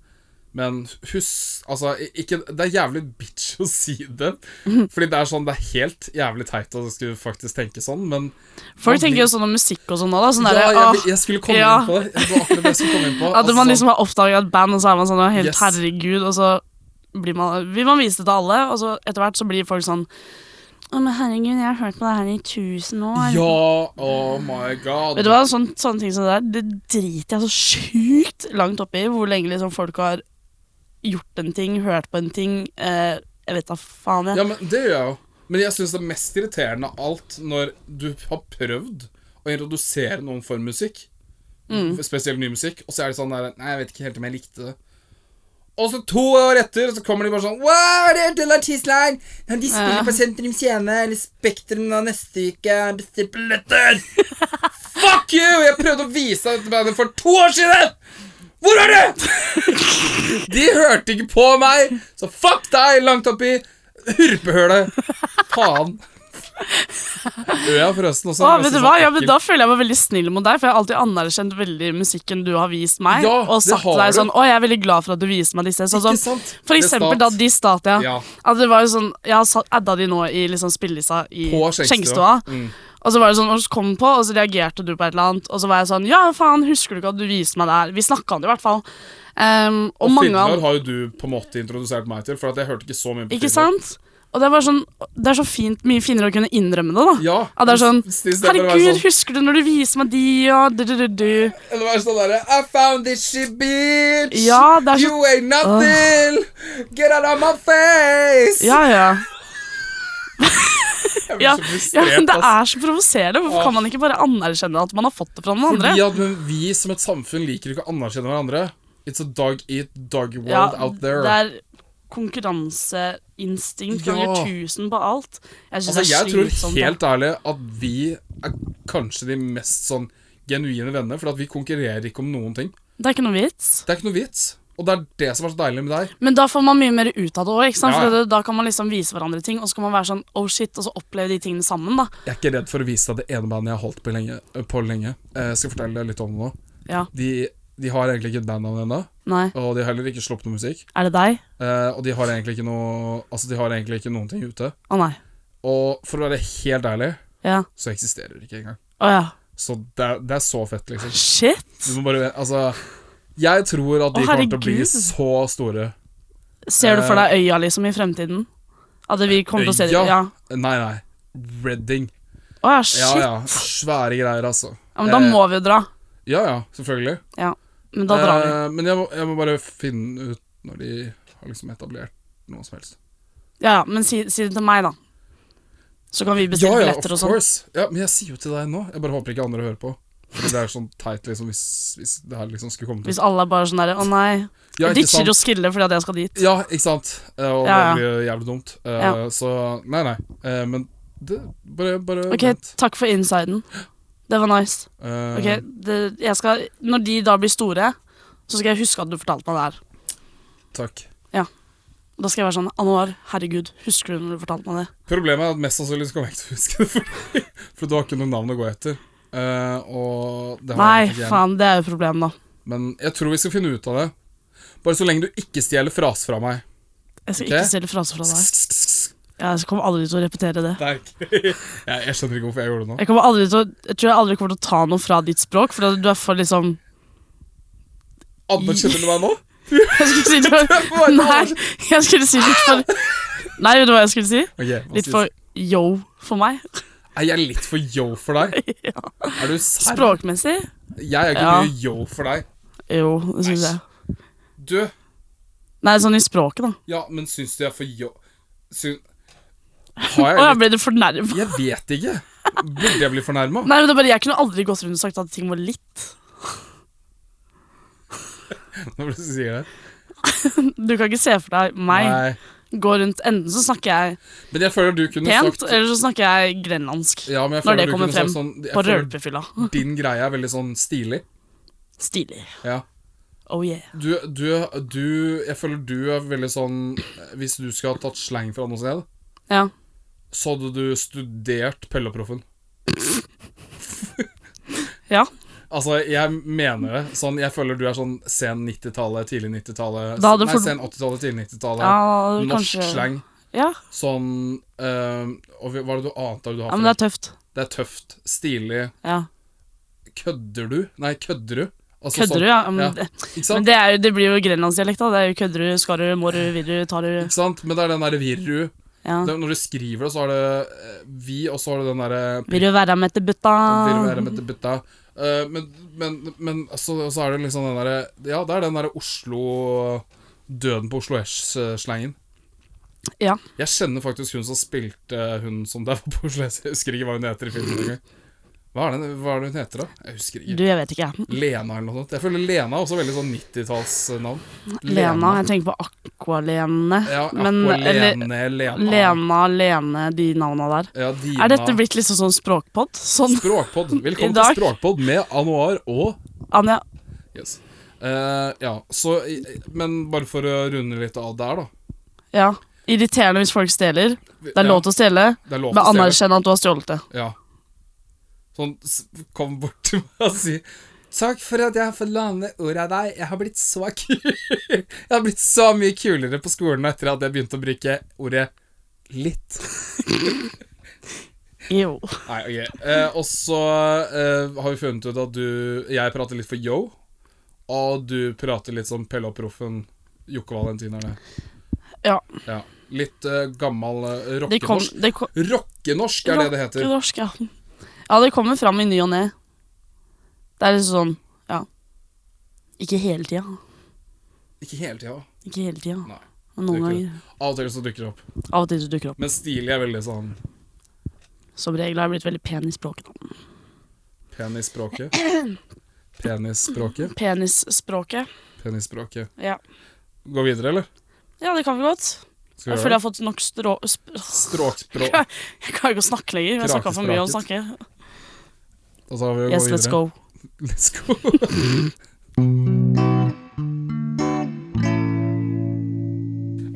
[SPEAKER 1] Men husk Altså, i- ikke Det er jævlig bitch å si det. Fordi det er sånn Det er helt jævlig teit at du skulle faktisk tenke sånn, men Man
[SPEAKER 2] Folk
[SPEAKER 1] blir-
[SPEAKER 2] tenker jo sånn om musikk og sånn nå, da. Sånn
[SPEAKER 1] ja,
[SPEAKER 2] der,
[SPEAKER 1] jeg,
[SPEAKER 2] «Åh,
[SPEAKER 1] vil- jeg skulle komme
[SPEAKER 2] ja.
[SPEAKER 1] inn på det. Det var akkurat det jeg skulle komme inn på.
[SPEAKER 2] At
[SPEAKER 1] Altså,
[SPEAKER 2] man
[SPEAKER 1] sånn-
[SPEAKER 2] liksom har oppdaga et band, og så er man sånn «Å, helt
[SPEAKER 1] Yes.
[SPEAKER 2] herregud, og så blir man, vil man vise det til alle, og så etter hvert så blir folk sånn Å, men herregud, jeg har hørt på det her i tusen år.
[SPEAKER 1] Ja, oh my god.
[SPEAKER 2] liksom- Vet du hva, sånn, sånne ting som det der, det driter jeg så sjukt langt oppi. Hvor lenge liksom folk har gjort en ting, hørt på en ting. Eh, jeg vet da faen, jeg.
[SPEAKER 1] Ja, men det gjør jeg jo. Men jeg syns det er mest irriterende av alt når du har prøvd å introdusere noen for musikk,
[SPEAKER 2] Mm.
[SPEAKER 1] spesielt ny musikk, og så er det sånn der Nei, jeg vet ikke helt om jeg likte det. Og så to år etter så kommer de bare sånn Wow, det er den artisten her! Ja, De spiller
[SPEAKER 2] Ja.
[SPEAKER 1] på Sentrum Scene eller Spektrum nå neste uke. Bestill billetter! Fuck you! Jeg prøvde å vise deg dette bandet for to år siden! Hvor er du?! De hørte ikke på meg, så fuck deg langt oppi hurpehølet. Faen. Øya forresten også.
[SPEAKER 2] Å, Ah, vet du hva? Ja, men da føler jeg meg veldig snill mot deg, for jeg har alltid anerkjent veldig musikken du har vist meg.
[SPEAKER 1] Ja,
[SPEAKER 2] og
[SPEAKER 1] det
[SPEAKER 2] sagt til
[SPEAKER 1] har
[SPEAKER 2] deg
[SPEAKER 1] du.
[SPEAKER 2] sånn Å, jeg er veldig glad for at du viser meg disse. Sånn,
[SPEAKER 1] Ikke
[SPEAKER 2] som-
[SPEAKER 1] sant?
[SPEAKER 2] For
[SPEAKER 1] Det
[SPEAKER 2] eksempel
[SPEAKER 1] stat.
[SPEAKER 2] da de stat, ja.
[SPEAKER 1] Ja.
[SPEAKER 2] At det var jo sånn Jeg har satt- adda de nå i liksom spillelista i
[SPEAKER 1] På Skjeggstua.
[SPEAKER 2] skjenkstua.
[SPEAKER 1] Mm.
[SPEAKER 2] Og så var det sånn, og så kom den på, og så reagerte du på et eller annet. Og så var jeg sånn Ja, faen, husker du ikke at du viste meg det her? Vi snakka om det i hvert fall. Ehm, og, mange
[SPEAKER 1] Fiddler
[SPEAKER 2] av
[SPEAKER 1] har jo du på en måte introdusert meg til, for at jeg hørte ikke så mye på
[SPEAKER 2] Ikke
[SPEAKER 1] Fiddler.
[SPEAKER 2] sant? Og det var sånn Det er så fint, mye finere å kunne innrømme det, da.
[SPEAKER 1] Ja.
[SPEAKER 2] At det er sånn
[SPEAKER 1] I stedet for å være
[SPEAKER 2] Herregud,
[SPEAKER 1] sånn-
[SPEAKER 2] husker du når du viser meg de, og du, du, du, du.
[SPEAKER 1] Eller være sånn derre I found this shit, bitch!
[SPEAKER 2] Ja, det er så-
[SPEAKER 1] You ain't nothing! Get out of my face!
[SPEAKER 2] Ja, ja.
[SPEAKER 1] Jeg blir
[SPEAKER 2] Ja,
[SPEAKER 1] så
[SPEAKER 2] ja,
[SPEAKER 1] frustrert.
[SPEAKER 2] men det
[SPEAKER 1] ass.
[SPEAKER 2] er så provoserende. Hvorfor kan man ikke bare anerkjenne at man har fått det fra noen andre?
[SPEAKER 1] Fordi at men vi som et samfunn liker ikke å anerkjenne hverandre. It's a dog eat dog world
[SPEAKER 2] Ja,
[SPEAKER 1] out there.
[SPEAKER 2] Det er konkurranseinstinkt
[SPEAKER 1] Ja.
[SPEAKER 2] ganger tusen på alt. Jeg synes
[SPEAKER 1] Altså, jeg
[SPEAKER 2] det er
[SPEAKER 1] tror
[SPEAKER 2] slitsomt.
[SPEAKER 1] helt ærlig at vi er kanskje de mest sånn genuine venner, for at vi konkurrerer ikke om noen ting.
[SPEAKER 2] Det er ikke noe vits.
[SPEAKER 1] Det er ikke noe vits, og det er det som er så deilig med deg.
[SPEAKER 2] Men da får man mye mer ut av det òg.
[SPEAKER 1] Ja, ja.
[SPEAKER 2] Da kan man liksom vise hverandre ting, og så kan man være sånn oh shit, og så oppleve de tingene sammen. da
[SPEAKER 1] Jeg er ikke redd for å vise deg det ene bandet jeg har holdt på lenge. På lenge. Eh, Jeg skal fortelle deg litt om det nå.
[SPEAKER 2] Ja,
[SPEAKER 1] De, de har egentlig ikke et bandnavn ennå,
[SPEAKER 2] nei,
[SPEAKER 1] og de har heller ikke sluppet noe musikk.
[SPEAKER 2] Er det deg?
[SPEAKER 1] Eh, og de har egentlig ikke noe Altså, de har egentlig ikke noen ting ute.
[SPEAKER 2] Å nei.
[SPEAKER 1] Og for å være helt ærlig,
[SPEAKER 2] Ja.
[SPEAKER 1] så eksisterer de ikke engang.
[SPEAKER 2] Å ja.
[SPEAKER 1] Så det er, det er så fett, liksom.
[SPEAKER 2] Shit!
[SPEAKER 1] Du må bare Altså, jeg tror at de
[SPEAKER 2] Å,
[SPEAKER 1] kommer til å bli
[SPEAKER 2] herregud.
[SPEAKER 1] så store.
[SPEAKER 2] Ser du for deg øya liksom i fremtiden? At vi kommer til å se
[SPEAKER 1] Øya?
[SPEAKER 2] dem? Ja.
[SPEAKER 1] Nei, nei. Redding.
[SPEAKER 2] Å ja,
[SPEAKER 1] Ja,
[SPEAKER 2] shit.
[SPEAKER 1] ja. Svære greier, altså.
[SPEAKER 2] Ja, men da
[SPEAKER 1] Eh,
[SPEAKER 2] må vi jo dra.
[SPEAKER 1] Ja, ja, selvfølgelig.
[SPEAKER 2] Ja. Men da drar vi.
[SPEAKER 1] Eh, men jeg må, jeg må bare finne ut når de har liksom etablert noe som helst.
[SPEAKER 2] Ja, ja, men si, si det til meg, da. Så kan vi
[SPEAKER 1] Ja,
[SPEAKER 2] bestille
[SPEAKER 1] ja, of
[SPEAKER 2] billetter og sånn.
[SPEAKER 1] course. Ja, men jeg sier jo til deg nå. Jeg bare håper ikke andre hører på. For det er sånn teit liksom hvis, hvis det her liksom skulle komme til
[SPEAKER 2] Hvis alle er bare sånn derre Å nei.
[SPEAKER 1] ja,
[SPEAKER 2] Jeg
[SPEAKER 1] ikke
[SPEAKER 2] ditcher
[SPEAKER 1] sant?
[SPEAKER 2] jo skille fordi at jeg skal dit.
[SPEAKER 1] Ja, ikke sant. Eh, Og
[SPEAKER 2] Ja, ja.
[SPEAKER 1] det blir jo jævlig dumt. Eh,
[SPEAKER 2] Ja.
[SPEAKER 1] Så nei, nei. Eh, Men det, bare, bare
[SPEAKER 2] Ok,
[SPEAKER 1] vent.
[SPEAKER 2] takk for insiden. Det var nice.
[SPEAKER 1] Eh,
[SPEAKER 2] Ok, det, jeg skal, Når de da blir store, så skal jeg huske at du fortalte meg det her.
[SPEAKER 1] Takk.
[SPEAKER 2] Og Da skal jeg være sånn Anuar, herregud, husker du når du fortalte meg det?
[SPEAKER 1] Problemet er at mest sannsynlig så kommer jeg ikke til å huske det, for, for du har ikke noe navn å gå etter. Eh, og det har jeg ikke
[SPEAKER 2] Nei,
[SPEAKER 1] jeg.
[SPEAKER 2] faen, det er jo problemet, da.
[SPEAKER 1] Men jeg tror vi skal finne ut av det. Bare så lenge du ikke stjeler fraser fra meg.
[SPEAKER 2] Jeg skal
[SPEAKER 1] Ok.
[SPEAKER 2] ikke stille fraser fra deg. Jeg kommer aldri til å repetere det.
[SPEAKER 1] Takk. Jeg, jeg skjønner ikke hvorfor jeg gjorde det nå.
[SPEAKER 2] Jeg, kommer aldri til å, jeg tror jeg aldri kommer til å ta noe fra ditt språk, for du er for liksom
[SPEAKER 1] Anerkjenner du meg nå?
[SPEAKER 2] Jeg skulle si du var Nei, jeg skulle si litt for Nei, vet du hva jeg skulle si?
[SPEAKER 1] Ok, hva
[SPEAKER 2] Litt
[SPEAKER 1] skal
[SPEAKER 2] for
[SPEAKER 1] jeg
[SPEAKER 2] yo for meg.
[SPEAKER 1] si? Er jeg litt for yo for deg? Er du serr?
[SPEAKER 2] Språkmessig?
[SPEAKER 1] Jeg er ikke
[SPEAKER 2] Ja.
[SPEAKER 1] mye yo for deg.
[SPEAKER 2] Jo, det syns jeg.
[SPEAKER 1] Du,
[SPEAKER 2] Nei, sånn i språket, da.
[SPEAKER 1] ja, men syns du jeg er for yo... Syn...
[SPEAKER 2] Å,
[SPEAKER 1] Har jeg
[SPEAKER 2] jeg
[SPEAKER 1] litt
[SPEAKER 2] ble litt fornærma.
[SPEAKER 1] Jeg vet ikke. Burde jeg bli fornærma?
[SPEAKER 2] Nei, men det er bare, Jeg kunne aldri gått rundt og sagt at ting var litt.
[SPEAKER 1] Når du sier det.
[SPEAKER 2] Du kan ikke se for deg meg gå rundt Enten så snakker jeg
[SPEAKER 1] Men jeg føler du kunne
[SPEAKER 2] pent,
[SPEAKER 1] sagt
[SPEAKER 2] eller så snakker jeg grenlandsk.
[SPEAKER 1] ja, men jeg
[SPEAKER 2] når
[SPEAKER 1] føler
[SPEAKER 2] det
[SPEAKER 1] du
[SPEAKER 2] kommer
[SPEAKER 1] kunne sagt
[SPEAKER 2] frem
[SPEAKER 1] Sånn, jeg
[SPEAKER 2] på
[SPEAKER 1] føler
[SPEAKER 2] rølpefylla.
[SPEAKER 1] Din greie er veldig sånn stilig.
[SPEAKER 2] Stilig.
[SPEAKER 1] Ja.
[SPEAKER 2] Oh yeah.
[SPEAKER 1] Du, du, du Jeg føler du er veldig sånn Hvis du skulle ha tatt slang fra noe sted,
[SPEAKER 2] Ja.
[SPEAKER 1] så hadde du studert Pelleproffen.
[SPEAKER 2] ja.
[SPEAKER 1] Altså, jeg mener det. Sånn, jeg føler du er sånn sen 90-tallet, tidlig 90-tallet
[SPEAKER 2] Da hadde
[SPEAKER 1] Nei,
[SPEAKER 2] for-
[SPEAKER 1] sen 80-tallet, tidlig 90-tallet.
[SPEAKER 2] Ja,
[SPEAKER 1] norsk
[SPEAKER 2] kanskje-
[SPEAKER 1] slang.
[SPEAKER 2] Ja.
[SPEAKER 1] Sånn ehm, Og hva er det du annet du har
[SPEAKER 2] ja,
[SPEAKER 1] for
[SPEAKER 2] men det er tøft.
[SPEAKER 1] Det er tøft, stilig
[SPEAKER 2] Ja.
[SPEAKER 1] Kødder du? Nei, kødder du? Altså,
[SPEAKER 2] Kødder du, ja? Men,
[SPEAKER 1] Ja, sånn.
[SPEAKER 2] Det,
[SPEAKER 1] Ikke
[SPEAKER 2] men
[SPEAKER 1] sant?
[SPEAKER 2] det, er jo, det blir jo grenlandsdialekt, da. Det er jo kødder du, skar du, mår du, vil du, tar du
[SPEAKER 1] Ikke sant? Men det er den derre virru.
[SPEAKER 2] Ja.
[SPEAKER 1] Det er Når du skriver det, så har det eh, vi, og så har du den eh, derre
[SPEAKER 2] Vil du være med til butta?
[SPEAKER 1] Vil være med til butta. Eh, men men, men altså, så er det liksom den derre Ja, det er den derre Oslo Døden på Oslo S-slangen.
[SPEAKER 2] Ja.
[SPEAKER 1] Jeg kjenner faktisk hun som spilte hun som der var på Oslo S. Jeg husker ikke hva hun heter i filmen engang. Hva, er det- hva er det hun heter, da? Jeg husker ikke.
[SPEAKER 2] Du, jeg vet ikke.
[SPEAKER 1] Lena eller noe sånt. Jeg føler Lena er også veldig sånn 90-tallsnavn.
[SPEAKER 2] Lena. Jeg tenker på Aqualene.
[SPEAKER 1] Ja,
[SPEAKER 2] men, eller
[SPEAKER 1] Lene, Lena.
[SPEAKER 2] Lena, Lene, de navna der.
[SPEAKER 1] Ja, Dina.
[SPEAKER 2] Er dette blitt liksom sånn språkpod? Sånn,
[SPEAKER 1] Språkpod. Velkommen
[SPEAKER 2] I dag?
[SPEAKER 1] til Språkpod med Anuar og
[SPEAKER 2] Anja.
[SPEAKER 1] Yes. Eh, ja, så eh, Men bare for å runde litt av der, da.
[SPEAKER 2] Ja. Irriterende hvis folk stjeler. Det er
[SPEAKER 1] Ja,
[SPEAKER 2] lov til å stjele,
[SPEAKER 1] det er lov til
[SPEAKER 2] men
[SPEAKER 1] å stjele.
[SPEAKER 2] anerkjenn at du har stjålet det.
[SPEAKER 1] Ja. Sånn s- kom bort til meg og si Takk for at jeg har fått låne ordet av deg. Jeg har blitt så kul Jeg har blitt så mye kulere på skolen etter at jeg begynte å bruke ordet litt.
[SPEAKER 2] Jo.
[SPEAKER 1] Nei, ok. Eh, og så eh, har vi funnet ut at du Jeg prater litt for yo, og du prater litt som Pelle og Proffen, Jokke Valentinerne.
[SPEAKER 2] Ja.
[SPEAKER 1] Ja. Litt eh, gammal eh,
[SPEAKER 2] Det kom,
[SPEAKER 1] rockenorsk.
[SPEAKER 2] det kom
[SPEAKER 1] Rockenorsk er det det heter.
[SPEAKER 2] Rockenorsk, ja. Ja, det kommer fram i ny og ne. Det er liksom sånn Ja. Ikke hele tida.
[SPEAKER 1] Ikke hele tida.
[SPEAKER 2] Ikke hele tida.
[SPEAKER 1] Nei,
[SPEAKER 2] Men
[SPEAKER 1] det
[SPEAKER 2] Noen
[SPEAKER 1] er
[SPEAKER 2] ganger.
[SPEAKER 1] Av og til så dukker det opp.
[SPEAKER 2] Av og til så dukker det opp.
[SPEAKER 1] Men stilig er veldig sånn
[SPEAKER 2] Som regel har jeg blitt veldig pen i språket. nå.
[SPEAKER 1] Penisspråket. Penisspråket.
[SPEAKER 2] Penisspråket.
[SPEAKER 1] Penisspråket.
[SPEAKER 2] Ja.
[SPEAKER 1] Gå videre, eller?
[SPEAKER 2] ja, det kan vi godt.
[SPEAKER 1] Skal
[SPEAKER 2] Jeg
[SPEAKER 1] vi
[SPEAKER 2] føler
[SPEAKER 1] gjøre
[SPEAKER 2] jeg har fått nok strå... Sp
[SPEAKER 1] det? Stråkspråk.
[SPEAKER 2] jeg klarer ikke å snakke lenger. Jeg snakka for mye om å snakke.
[SPEAKER 1] Og så har vi å gå
[SPEAKER 2] Yes, let's
[SPEAKER 1] videre.
[SPEAKER 2] go.
[SPEAKER 1] Let's go.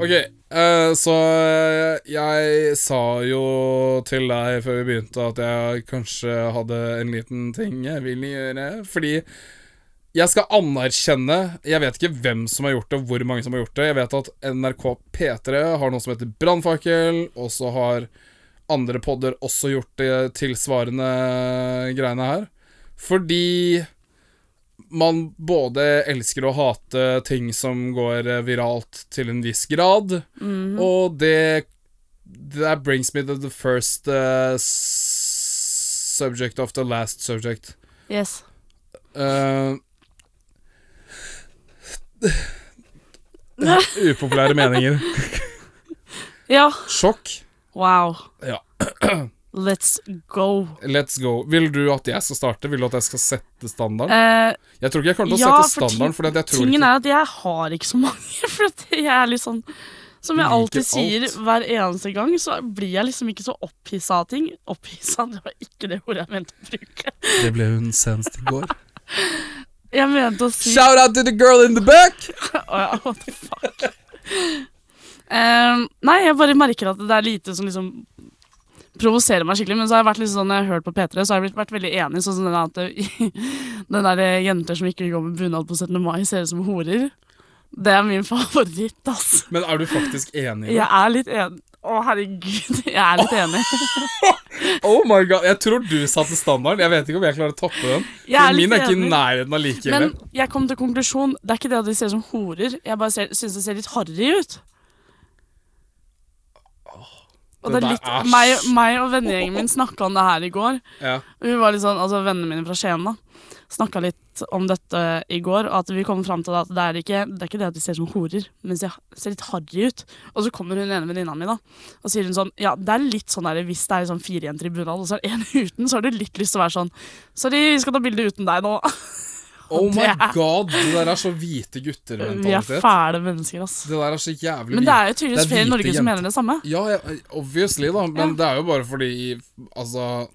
[SPEAKER 1] ok, eh, så eh, jeg sa jo til deg før vi begynte at jeg kanskje hadde en liten ting jeg ville gjøre, fordi jeg skal anerkjenne Jeg vet ikke hvem som har gjort det, og hvor mange som har gjort det. Jeg vet at NRK P3 har noe som heter Brannfakkel, og så har andre podder også gjort det tilsvarende greiene her. Fordi man både elsker å hate ting som går eh, viralt til en viss grad,
[SPEAKER 2] Mhm.
[SPEAKER 1] og det That brings me to the first eh, s- subject of the last subject.
[SPEAKER 2] Yes.
[SPEAKER 1] Eh, upopulære meninger.
[SPEAKER 2] Ja.
[SPEAKER 1] Sjokk.
[SPEAKER 2] Wow.
[SPEAKER 1] Ja.
[SPEAKER 2] Let's go.
[SPEAKER 1] Let's go. Vil du at jeg skal starte? Vil du at jeg skal sette standarden?
[SPEAKER 2] Eh,
[SPEAKER 1] Jeg tror ikke jeg kommer til å
[SPEAKER 2] ja,
[SPEAKER 1] sette
[SPEAKER 2] for ting-
[SPEAKER 1] standarden, for jeg tror
[SPEAKER 2] tingen
[SPEAKER 1] ikke
[SPEAKER 2] er at jeg har ikke så mange. For at jeg er litt sånn Som
[SPEAKER 1] Du
[SPEAKER 2] jeg
[SPEAKER 1] liker
[SPEAKER 2] alltid sier
[SPEAKER 1] alt.
[SPEAKER 2] hver eneste gang, så blir jeg liksom ikke så opphissa av ting. Opphissa, det var ikke det ordet jeg mente å bruke.
[SPEAKER 1] Det ble hun senest i går.
[SPEAKER 2] Jeg mente å si
[SPEAKER 1] Shout out to the girl in the back!
[SPEAKER 2] Å ja, what the fuck. Ehm, nei, jeg bare merker at det er lite som liksom provoserer meg skikkelig. Men så har jeg vært litt sånn, når jeg har hørt på P3, så har jeg blitt, vært veldig enig. Sånn som den, at det, den der eh, jenter som ikke går med bunad på 17. mai, ser ut som horer. Det er min favoritt, ass.
[SPEAKER 1] Men er du faktisk enig? i
[SPEAKER 2] Jeg
[SPEAKER 1] det?
[SPEAKER 2] er litt enig. Å, herregud. Jeg er litt enig.
[SPEAKER 1] Oh my god, Jeg tror du satte standarden. Jeg vet ikke om jeg klarer å toppe den.
[SPEAKER 2] Jeg er
[SPEAKER 1] For min
[SPEAKER 2] litt
[SPEAKER 1] er ikke i
[SPEAKER 2] enig.
[SPEAKER 1] nærheten av like ille.
[SPEAKER 2] Men jeg kom til konklusjon. Det er ikke det at de ser ut som horer. Jeg bare ser- syns det ser litt harry ut. Og
[SPEAKER 1] Det
[SPEAKER 2] det er
[SPEAKER 1] der
[SPEAKER 2] litt,
[SPEAKER 1] er
[SPEAKER 2] meg,
[SPEAKER 1] s-
[SPEAKER 2] meg og vennegjengen min snakka om det her i går.
[SPEAKER 1] Ja.
[SPEAKER 2] Og Vi var litt sånn, altså Vennene mine fra Skien da snakka litt om dette i går. Og at vi kom fram til at det er ikke det, er ikke det at de ser ut som horer, men de ser litt harry ut. Og så kommer hun ene venninna mi da og sier hun sånn Ja, det er litt sånn der, hvis det er sånn fire jenter i bunad, og så er det en uten, så har du litt lyst til å være sånn Sorry, vi skal ta bilde uten deg nå.
[SPEAKER 1] Oh my
[SPEAKER 2] Det er-
[SPEAKER 1] god, det der er så hvite
[SPEAKER 2] Vi er
[SPEAKER 1] gutter-mentalitet.
[SPEAKER 2] fæle mennesker, ass.
[SPEAKER 1] Det der er så jævlig
[SPEAKER 2] Men det er jo
[SPEAKER 1] det
[SPEAKER 2] tydeligvis
[SPEAKER 1] er
[SPEAKER 2] flere i
[SPEAKER 1] hvite
[SPEAKER 2] Norge som
[SPEAKER 1] jenter.
[SPEAKER 2] mener det samme.
[SPEAKER 1] Ja, ja, obviously, da. Men det er jo bare fordi Altså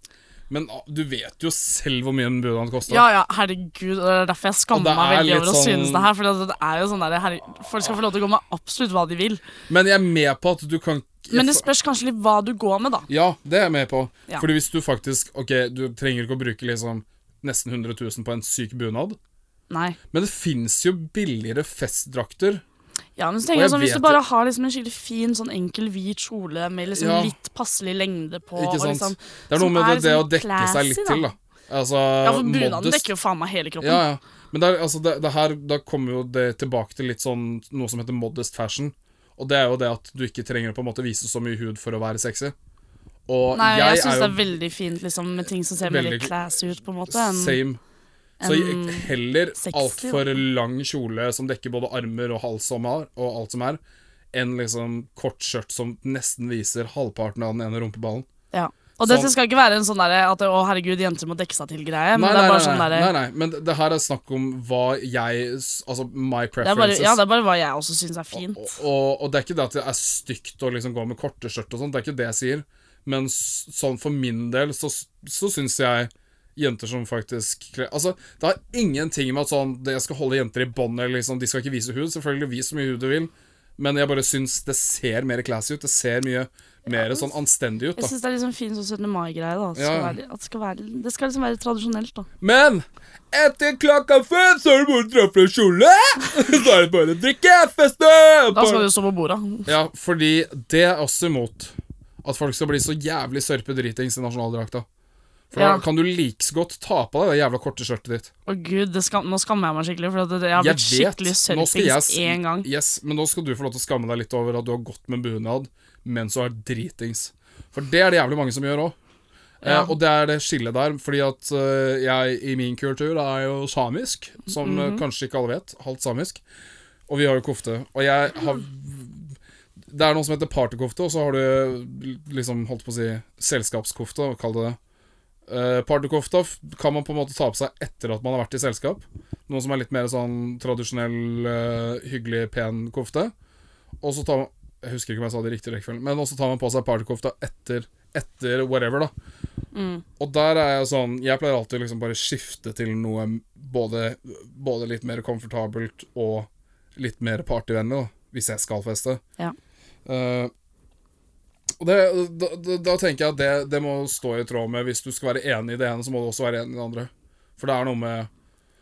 [SPEAKER 1] Men ah, du vet jo selv hvor mye en bunad koster.
[SPEAKER 2] Ja, ja, herregud, og det er derfor
[SPEAKER 1] Og det
[SPEAKER 2] jeg skammer meg
[SPEAKER 1] er
[SPEAKER 2] veldig
[SPEAKER 1] litt
[SPEAKER 2] over å
[SPEAKER 1] sånn-
[SPEAKER 2] synes det her. For det- det er jo sånn der, herregud, Folk skal få lov til å gå med absolutt hva de vil.
[SPEAKER 1] Men jeg er med på at du kan
[SPEAKER 2] Men det spørs kanskje litt hva du går med, da.
[SPEAKER 1] Ja, det er jeg med på.
[SPEAKER 2] Ja.
[SPEAKER 1] Fordi hvis du faktisk Ok, du trenger ikke å bruke liksom nesten 100 000 på en syk bunad,
[SPEAKER 2] Nei.
[SPEAKER 1] men det fins jo billigere festdrakter.
[SPEAKER 2] Ja, men så
[SPEAKER 1] Og jeg
[SPEAKER 2] tenker jeg sånn, Hvis
[SPEAKER 1] vet
[SPEAKER 2] du bare har liksom en skikkelig fin, sånn enkel hvit kjole med liksom
[SPEAKER 1] Ja.
[SPEAKER 2] litt passelig lengde på
[SPEAKER 1] Ikke sant?
[SPEAKER 2] og liksom,
[SPEAKER 1] det er noe
[SPEAKER 2] som
[SPEAKER 1] med det, det
[SPEAKER 2] liksom
[SPEAKER 1] å dekke
[SPEAKER 2] classy,
[SPEAKER 1] seg litt til, da. Altså,
[SPEAKER 2] Ja, for bunaden
[SPEAKER 1] modest.
[SPEAKER 2] dekker jo faen meg hele kroppen.
[SPEAKER 1] Ja, ja. Men det, er- altså, det, det her, da kommer jo det tilbake til litt sånn noe som heter modest fashion. Og det er jo det at du ikke trenger å på en måte vise så mye hud for å være sexy. Og
[SPEAKER 2] Nei, jeg,
[SPEAKER 1] jeg,
[SPEAKER 2] syns
[SPEAKER 1] er
[SPEAKER 2] det
[SPEAKER 1] jo
[SPEAKER 2] er veldig fint liksom, med ting som ser
[SPEAKER 1] Veldig
[SPEAKER 2] veldig
[SPEAKER 1] kl-
[SPEAKER 2] classy ut, på en måte. enn-
[SPEAKER 1] same. Så jeg, heller
[SPEAKER 2] sexy,
[SPEAKER 1] altfor lang kjole som dekker både armer og hals som har, og alt som er, enn liksom kort skjørt som nesten viser halvparten av den ene rumpeballen.
[SPEAKER 2] Ja. Og
[SPEAKER 1] Sånn-
[SPEAKER 2] dette skal ikke være en sånn derre at 'å, herregud, jenter må dekke seg til'-greie. Men
[SPEAKER 1] Nei,
[SPEAKER 2] det
[SPEAKER 1] nei,
[SPEAKER 2] er bare
[SPEAKER 1] nei,
[SPEAKER 2] sånn
[SPEAKER 1] nei,
[SPEAKER 2] derre
[SPEAKER 1] nei, nei, men det- det her er snakk om hva jeg s- Altså my
[SPEAKER 2] det, er bare-
[SPEAKER 1] preferences.
[SPEAKER 2] ja, det er bare hva jeg også syns er fint.
[SPEAKER 1] og, og, og det er ikke det at det er stygt å liksom gå med korte skjørt og sånt, det er ikke det jeg sier. Men s- sånn for min del så, s- så syns jeg jenter som faktisk kler Altså, det har ingenting med at sånn det, Jeg skal holde jenter i bånd, eller liksom De skal ikke vise hud. Selvfølgelig, vis så mye hud du vil, men jeg bare syns det ser mer classy ut. Det ser mye mer sånn anstendig ut,
[SPEAKER 2] Jeg
[SPEAKER 1] da.
[SPEAKER 2] syns det er liksom fin sånn 17. mai-greie. da at det
[SPEAKER 1] Ja.
[SPEAKER 2] skal være- at det, skal være- det skal liksom være tradisjonelt, da.
[SPEAKER 1] Men etter klokka fem så er det bare å dra fra kjole! Så er det bare å drikke, feste!
[SPEAKER 2] Da skal du stå på bordet.
[SPEAKER 1] Ja, fordi det er også imot at folk skal bli så jævlig sørpe dritings i nasjonaldrakta. For da
[SPEAKER 2] Ja.
[SPEAKER 1] kan du like så godt ta på deg det jævla korte skjørtet ditt.
[SPEAKER 2] Å gud, det skam, Nå skammer jeg meg skikkelig, for at det, jeg har blitt skikkelig
[SPEAKER 1] nå skal jeg
[SPEAKER 2] sørpings
[SPEAKER 1] s-
[SPEAKER 2] én gang.
[SPEAKER 1] Yes, men nå skal du få lov til å skamme deg litt over at du har gått med bunad mens du er dritings. For det er det jævlig mange som gjør òg.
[SPEAKER 2] Ja.
[SPEAKER 1] Eh, og det er det skillet der, fordi at eh, jeg i min kultur er jo samisk, som
[SPEAKER 2] Mhm.
[SPEAKER 1] eh, kanskje ikke alle vet, halvt samisk. Og vi har jo kofte. Og jeg har Det er noe som heter partykofte, og så har du liksom holdt på å si selskapskofte, kall det det. Eh, partykofta f- kan man på en måte ta på seg etter at man har vært i selskap. Noe som er litt mer sånn tradisjonell, eh, hyggelig, pen kofte. Og så tar man Jeg husker ikke om jeg sa det i riktig rekkefølge, men også tar man på seg partykofta etter, etter whatever, da. Og der er jeg sånn Jeg pleier alltid liksom bare skifte til noe både, både litt mer komfortabelt og litt mer partyvennlig, da, hvis jeg skal feste.
[SPEAKER 2] Ja.
[SPEAKER 1] Eh, og det, da, da, da tenker jeg at det, det må stå i tråd med Hvis du skal være enig i det ene, så må du også være enig i det andre. For det er noe med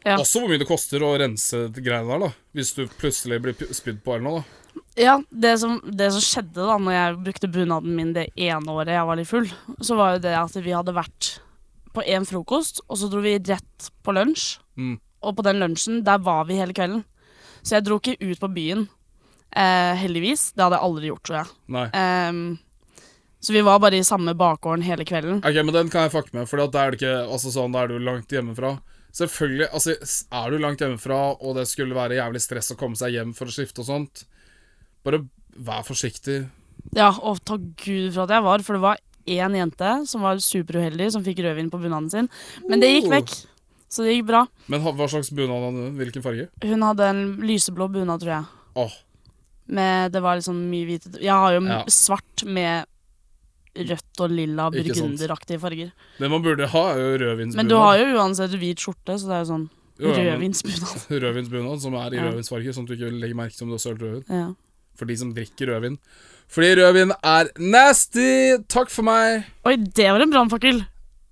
[SPEAKER 2] Ja.
[SPEAKER 1] Også hvor mye det koster å rense de greiene der, da. Hvis du plutselig blir p- spydd på eller noe, da.
[SPEAKER 2] Ja, det som, det som skjedde da når jeg brukte bunaden min det ene året jeg var litt full, så var jo det at vi hadde vært på én frokost, og så dro vi rett på lunsj.
[SPEAKER 1] Mm.
[SPEAKER 2] Og på den lunsjen, der var vi hele kvelden. Så jeg dro ikke ut på byen. Eh, heldigvis. Det hadde jeg aldri gjort, tror jeg.
[SPEAKER 1] Nei.
[SPEAKER 2] Ehm, så vi var bare i samme bakgården hele kvelden.
[SPEAKER 1] Ok, men den kan jeg fucke med, for da er det ikke Altså sånn, da er du langt hjemmefra. Selvfølgelig, altså s- er du langt hjemmefra, og det skulle være jævlig stress å komme seg hjem for å skifte og sånt, bare vær forsiktig.
[SPEAKER 2] Ja, og takk Gud for at jeg var, for det var én jente som var superuheldig, som fikk rødvin på bunaden sin. Men det gikk
[SPEAKER 1] Oh.
[SPEAKER 2] vekk, så det gikk bra.
[SPEAKER 1] Men ha- hva slags bunad hadde du? Hvilken farge?
[SPEAKER 2] Hun hadde en lyseblå bunad, tror jeg.
[SPEAKER 1] Åh,
[SPEAKER 2] Med, det var liksom mye hvite Jeg har jo m-
[SPEAKER 1] Ja.
[SPEAKER 2] svart med rødt og lilla
[SPEAKER 1] Ikke sant.
[SPEAKER 2] burgunderaktige farger.
[SPEAKER 1] det man burde ha, er jo rødvinsbunad.
[SPEAKER 2] Men du har jo uansett hvit skjorte, så det er jo sånn
[SPEAKER 1] Jo, ja, men
[SPEAKER 2] rødvinsbunad.
[SPEAKER 1] Rødvinsbunad, som er i
[SPEAKER 2] Ja.
[SPEAKER 1] rødvinsfarge, sånn at du ikke legger merke til om du har sølt rødvin.
[SPEAKER 2] Ja.
[SPEAKER 1] For de som drikker rødvin. Fordi rødvin er nasty! Takk for meg!
[SPEAKER 2] Oi, det var en brannfakkel!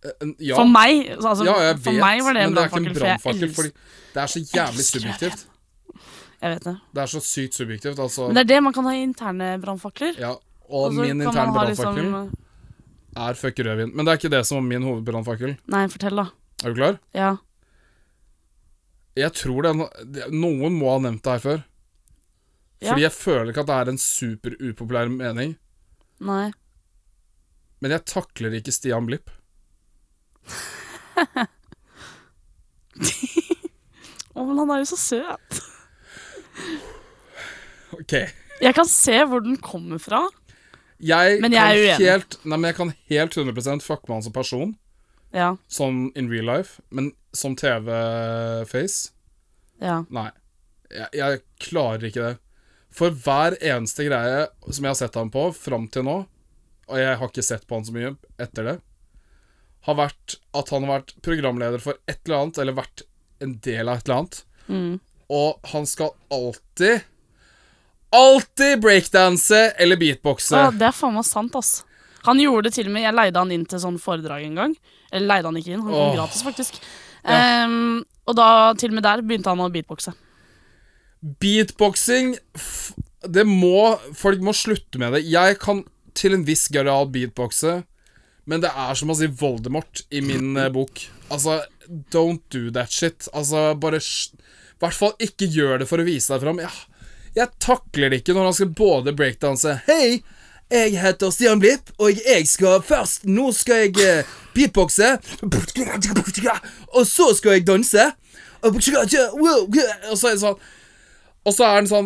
[SPEAKER 1] Eh, en- Ja.
[SPEAKER 2] For meg altså,
[SPEAKER 1] ja, jeg vet,
[SPEAKER 2] for meg var det en
[SPEAKER 1] men det er ikke
[SPEAKER 2] brannfakkel,
[SPEAKER 1] en
[SPEAKER 2] for jeg
[SPEAKER 1] brannfakkel,
[SPEAKER 2] elsker
[SPEAKER 1] fordi det er så jævlig
[SPEAKER 2] elsker rødvin.
[SPEAKER 1] subjektivt.
[SPEAKER 2] Jeg vet det.
[SPEAKER 1] Det er så sykt subjektivt, altså.
[SPEAKER 2] Men det er det man kan ha i interne brannfakler.
[SPEAKER 1] Ja, og
[SPEAKER 2] så
[SPEAKER 1] min
[SPEAKER 2] kan man
[SPEAKER 1] interne
[SPEAKER 2] ha sånn, eh,
[SPEAKER 1] brannfakkel er fuck rødvin. Men det er ikke det som er min hovedbrannfakkel.
[SPEAKER 2] Nei, fortell, da.
[SPEAKER 1] Er du klar?
[SPEAKER 2] Ja.
[SPEAKER 1] Jeg tror det er no det- Noen må ha nevnt det her før.
[SPEAKER 2] Ja.
[SPEAKER 1] Fordi jeg føler ikke at det er en super upopulær mening.
[SPEAKER 2] Nei.
[SPEAKER 1] Men jeg takler ikke Stian Blipp.
[SPEAKER 2] Å, men han er jo så søt.
[SPEAKER 1] Ok.
[SPEAKER 2] Jeg kan se hvor den kommer fra.
[SPEAKER 1] Jeg,
[SPEAKER 2] Men jeg er
[SPEAKER 1] kan
[SPEAKER 2] uenig.
[SPEAKER 1] helt, nei, men jeg kan helt 100 fucke med han som person,
[SPEAKER 2] Ja.
[SPEAKER 1] sånn in real life, men som TV-face
[SPEAKER 2] Ja.
[SPEAKER 1] Nei. Jeg, jeg klarer ikke det. For hver eneste greie som jeg har sett han på fram til nå, og jeg har ikke sett på han så mye etter det, har vært at han har vært programleder for et eller annet, eller vært en del av et eller annet. Og han skal alltid Alltid breakdanse eller beatboxe.
[SPEAKER 2] Ja, det er faen meg sant, ass. Han gjorde det til og med Jeg leide han inn til sånn foredrag en gang. Eller leide han ikke inn, han kom
[SPEAKER 1] Åh.
[SPEAKER 2] gratis, faktisk.
[SPEAKER 1] Ja.
[SPEAKER 2] Ehm, og da, til og med der, begynte han å beatboxe.
[SPEAKER 1] Beatboxing f- Det må Folk må slutte med det. Jeg kan til en viss grad beatboxe, men det er som å si Voldemort i min eh, bok. Altså, don't do that shit. Altså, bare sj- I hvert fall ikke gjør det for å vise deg fram. Jeg, jeg takler det ikke når han skal både breakdanse Hei, jeg heter Stian Blipp, og jeg skal først Nå skal jeg eh, beatboxe, og så skal jeg danse. Og så er det sånn og så er han sånn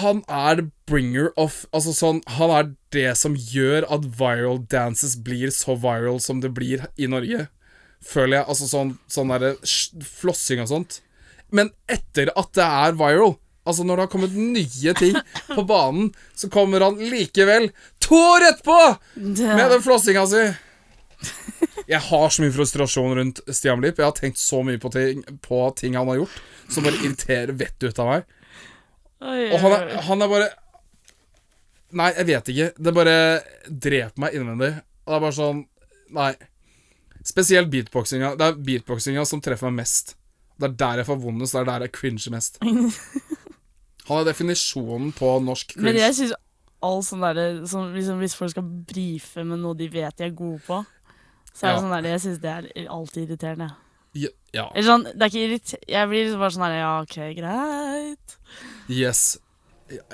[SPEAKER 1] Han er bringer of Altså sånn Han er det som gjør at viral dances blir så viral som det blir i Norge. Føler jeg. Altså sånn, sånn derre sj- flossing og sånt. Men etter at det er viral Altså når det har kommet nye ting på banen, så kommer han likevel to år etterpå med den flossinga si. Jeg har så mye frustrasjon rundt Stian Blipp. Jeg har tenkt så mye på ting, på ting han har gjort, som bare irriterer vettet ut av meg. Og han er, han er bare Nei, jeg vet ikke. Det bare dreper meg innvendig. Og det er bare sånn Nei. Spesielt beatboxinga. Det er beatboxinga som treffer meg mest. Det er der jeg får vondest, det er der jeg cringer mest. Han er definisjonen på norsk
[SPEAKER 2] Men
[SPEAKER 1] cringe.
[SPEAKER 2] jeg syns all sånn derre sånn, liksom, Hvis folk skal brife med noe de vet de er gode på, så er det
[SPEAKER 1] Ja.
[SPEAKER 2] sånn derre Jeg syns det er alltid irriterende.
[SPEAKER 1] Ja, ja.
[SPEAKER 2] Eller sånn, det er ikke irrit... Jeg blir liksom bare sånn derre Ja, OK, greit.
[SPEAKER 1] Yes.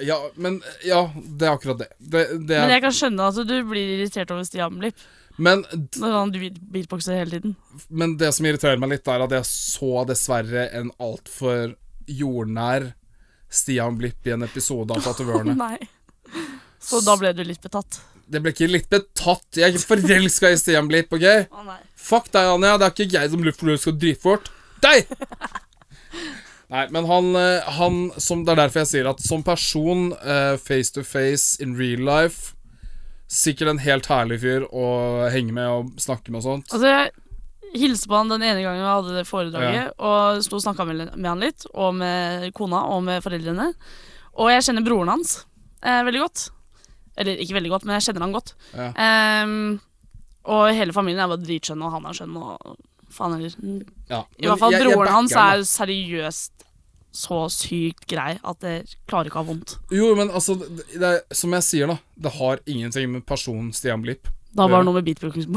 [SPEAKER 1] Ja, men Ja, det er akkurat det. Det, det
[SPEAKER 2] Men
[SPEAKER 1] er
[SPEAKER 2] jeg kan skjønne at du blir irritert over Stian Blipp
[SPEAKER 1] Men
[SPEAKER 2] når han beat- beatboxer hele tiden.
[SPEAKER 1] Men det som irriterer meg litt, er at jeg så dessverre en altfor jordnær Stian Blipp i en episode av Tatovørene.
[SPEAKER 2] Nei. Så da ble du litt betatt.
[SPEAKER 1] Det ble ikke litt betatt. Jeg er ikke forelska i Stian Blipp, OK?
[SPEAKER 2] Å nei.
[SPEAKER 1] Fuck deg, Anja. Det er ikke jeg som løper løs og dritfort. Deg! Nei, men han, eh, han som, Det er derfor jeg sier at som person, eh, face to face, in real life Sikkert en helt herlig fyr å henge med og snakke med og sånt.
[SPEAKER 2] Altså, jeg hilste på han den ene gangen jeg hadde det foredraget, og sto og snakka med, med han litt, og med kona og med foreldrene. Og jeg kjenner broren hans eh, veldig godt. Eller ikke veldig godt, men jeg kjenner han godt.
[SPEAKER 1] Ja.
[SPEAKER 2] Ehm, og hele familien er bare dritskjønn, og han er skjønn, og faen heller.
[SPEAKER 1] Ja,
[SPEAKER 2] I hvert fall
[SPEAKER 1] jeg- jeg
[SPEAKER 2] broren hans
[SPEAKER 1] backer han,
[SPEAKER 2] er seriøst så sykt grei at jeg klarer ikke å ha vondt.
[SPEAKER 1] da. Jo, men altså, det, det er, som jeg sier, da. Det har ingenting med personen Stian Blipp
[SPEAKER 2] Da var
[SPEAKER 1] Ja.
[SPEAKER 2] det noe med beatboxing å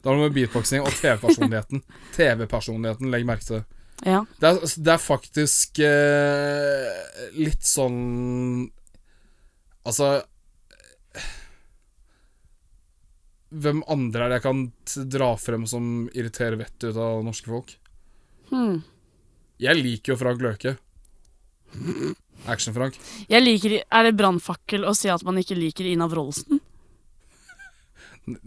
[SPEAKER 1] Det har noe med beatboxing og TV-personligheten. TV-personligheten, legg merke til det.
[SPEAKER 2] Ja.
[SPEAKER 1] Det er, altså, det er faktisk eh, litt sånn Altså Hvem andre er det jeg kan t- dra frem som irriterer vettet ut av norske folk?
[SPEAKER 2] Hmm.
[SPEAKER 1] Jeg liker jo Frank Løke. Action-Frank.
[SPEAKER 2] Jeg liker, Er det brannfakkel å si at man ikke liker Ina Wroldsen?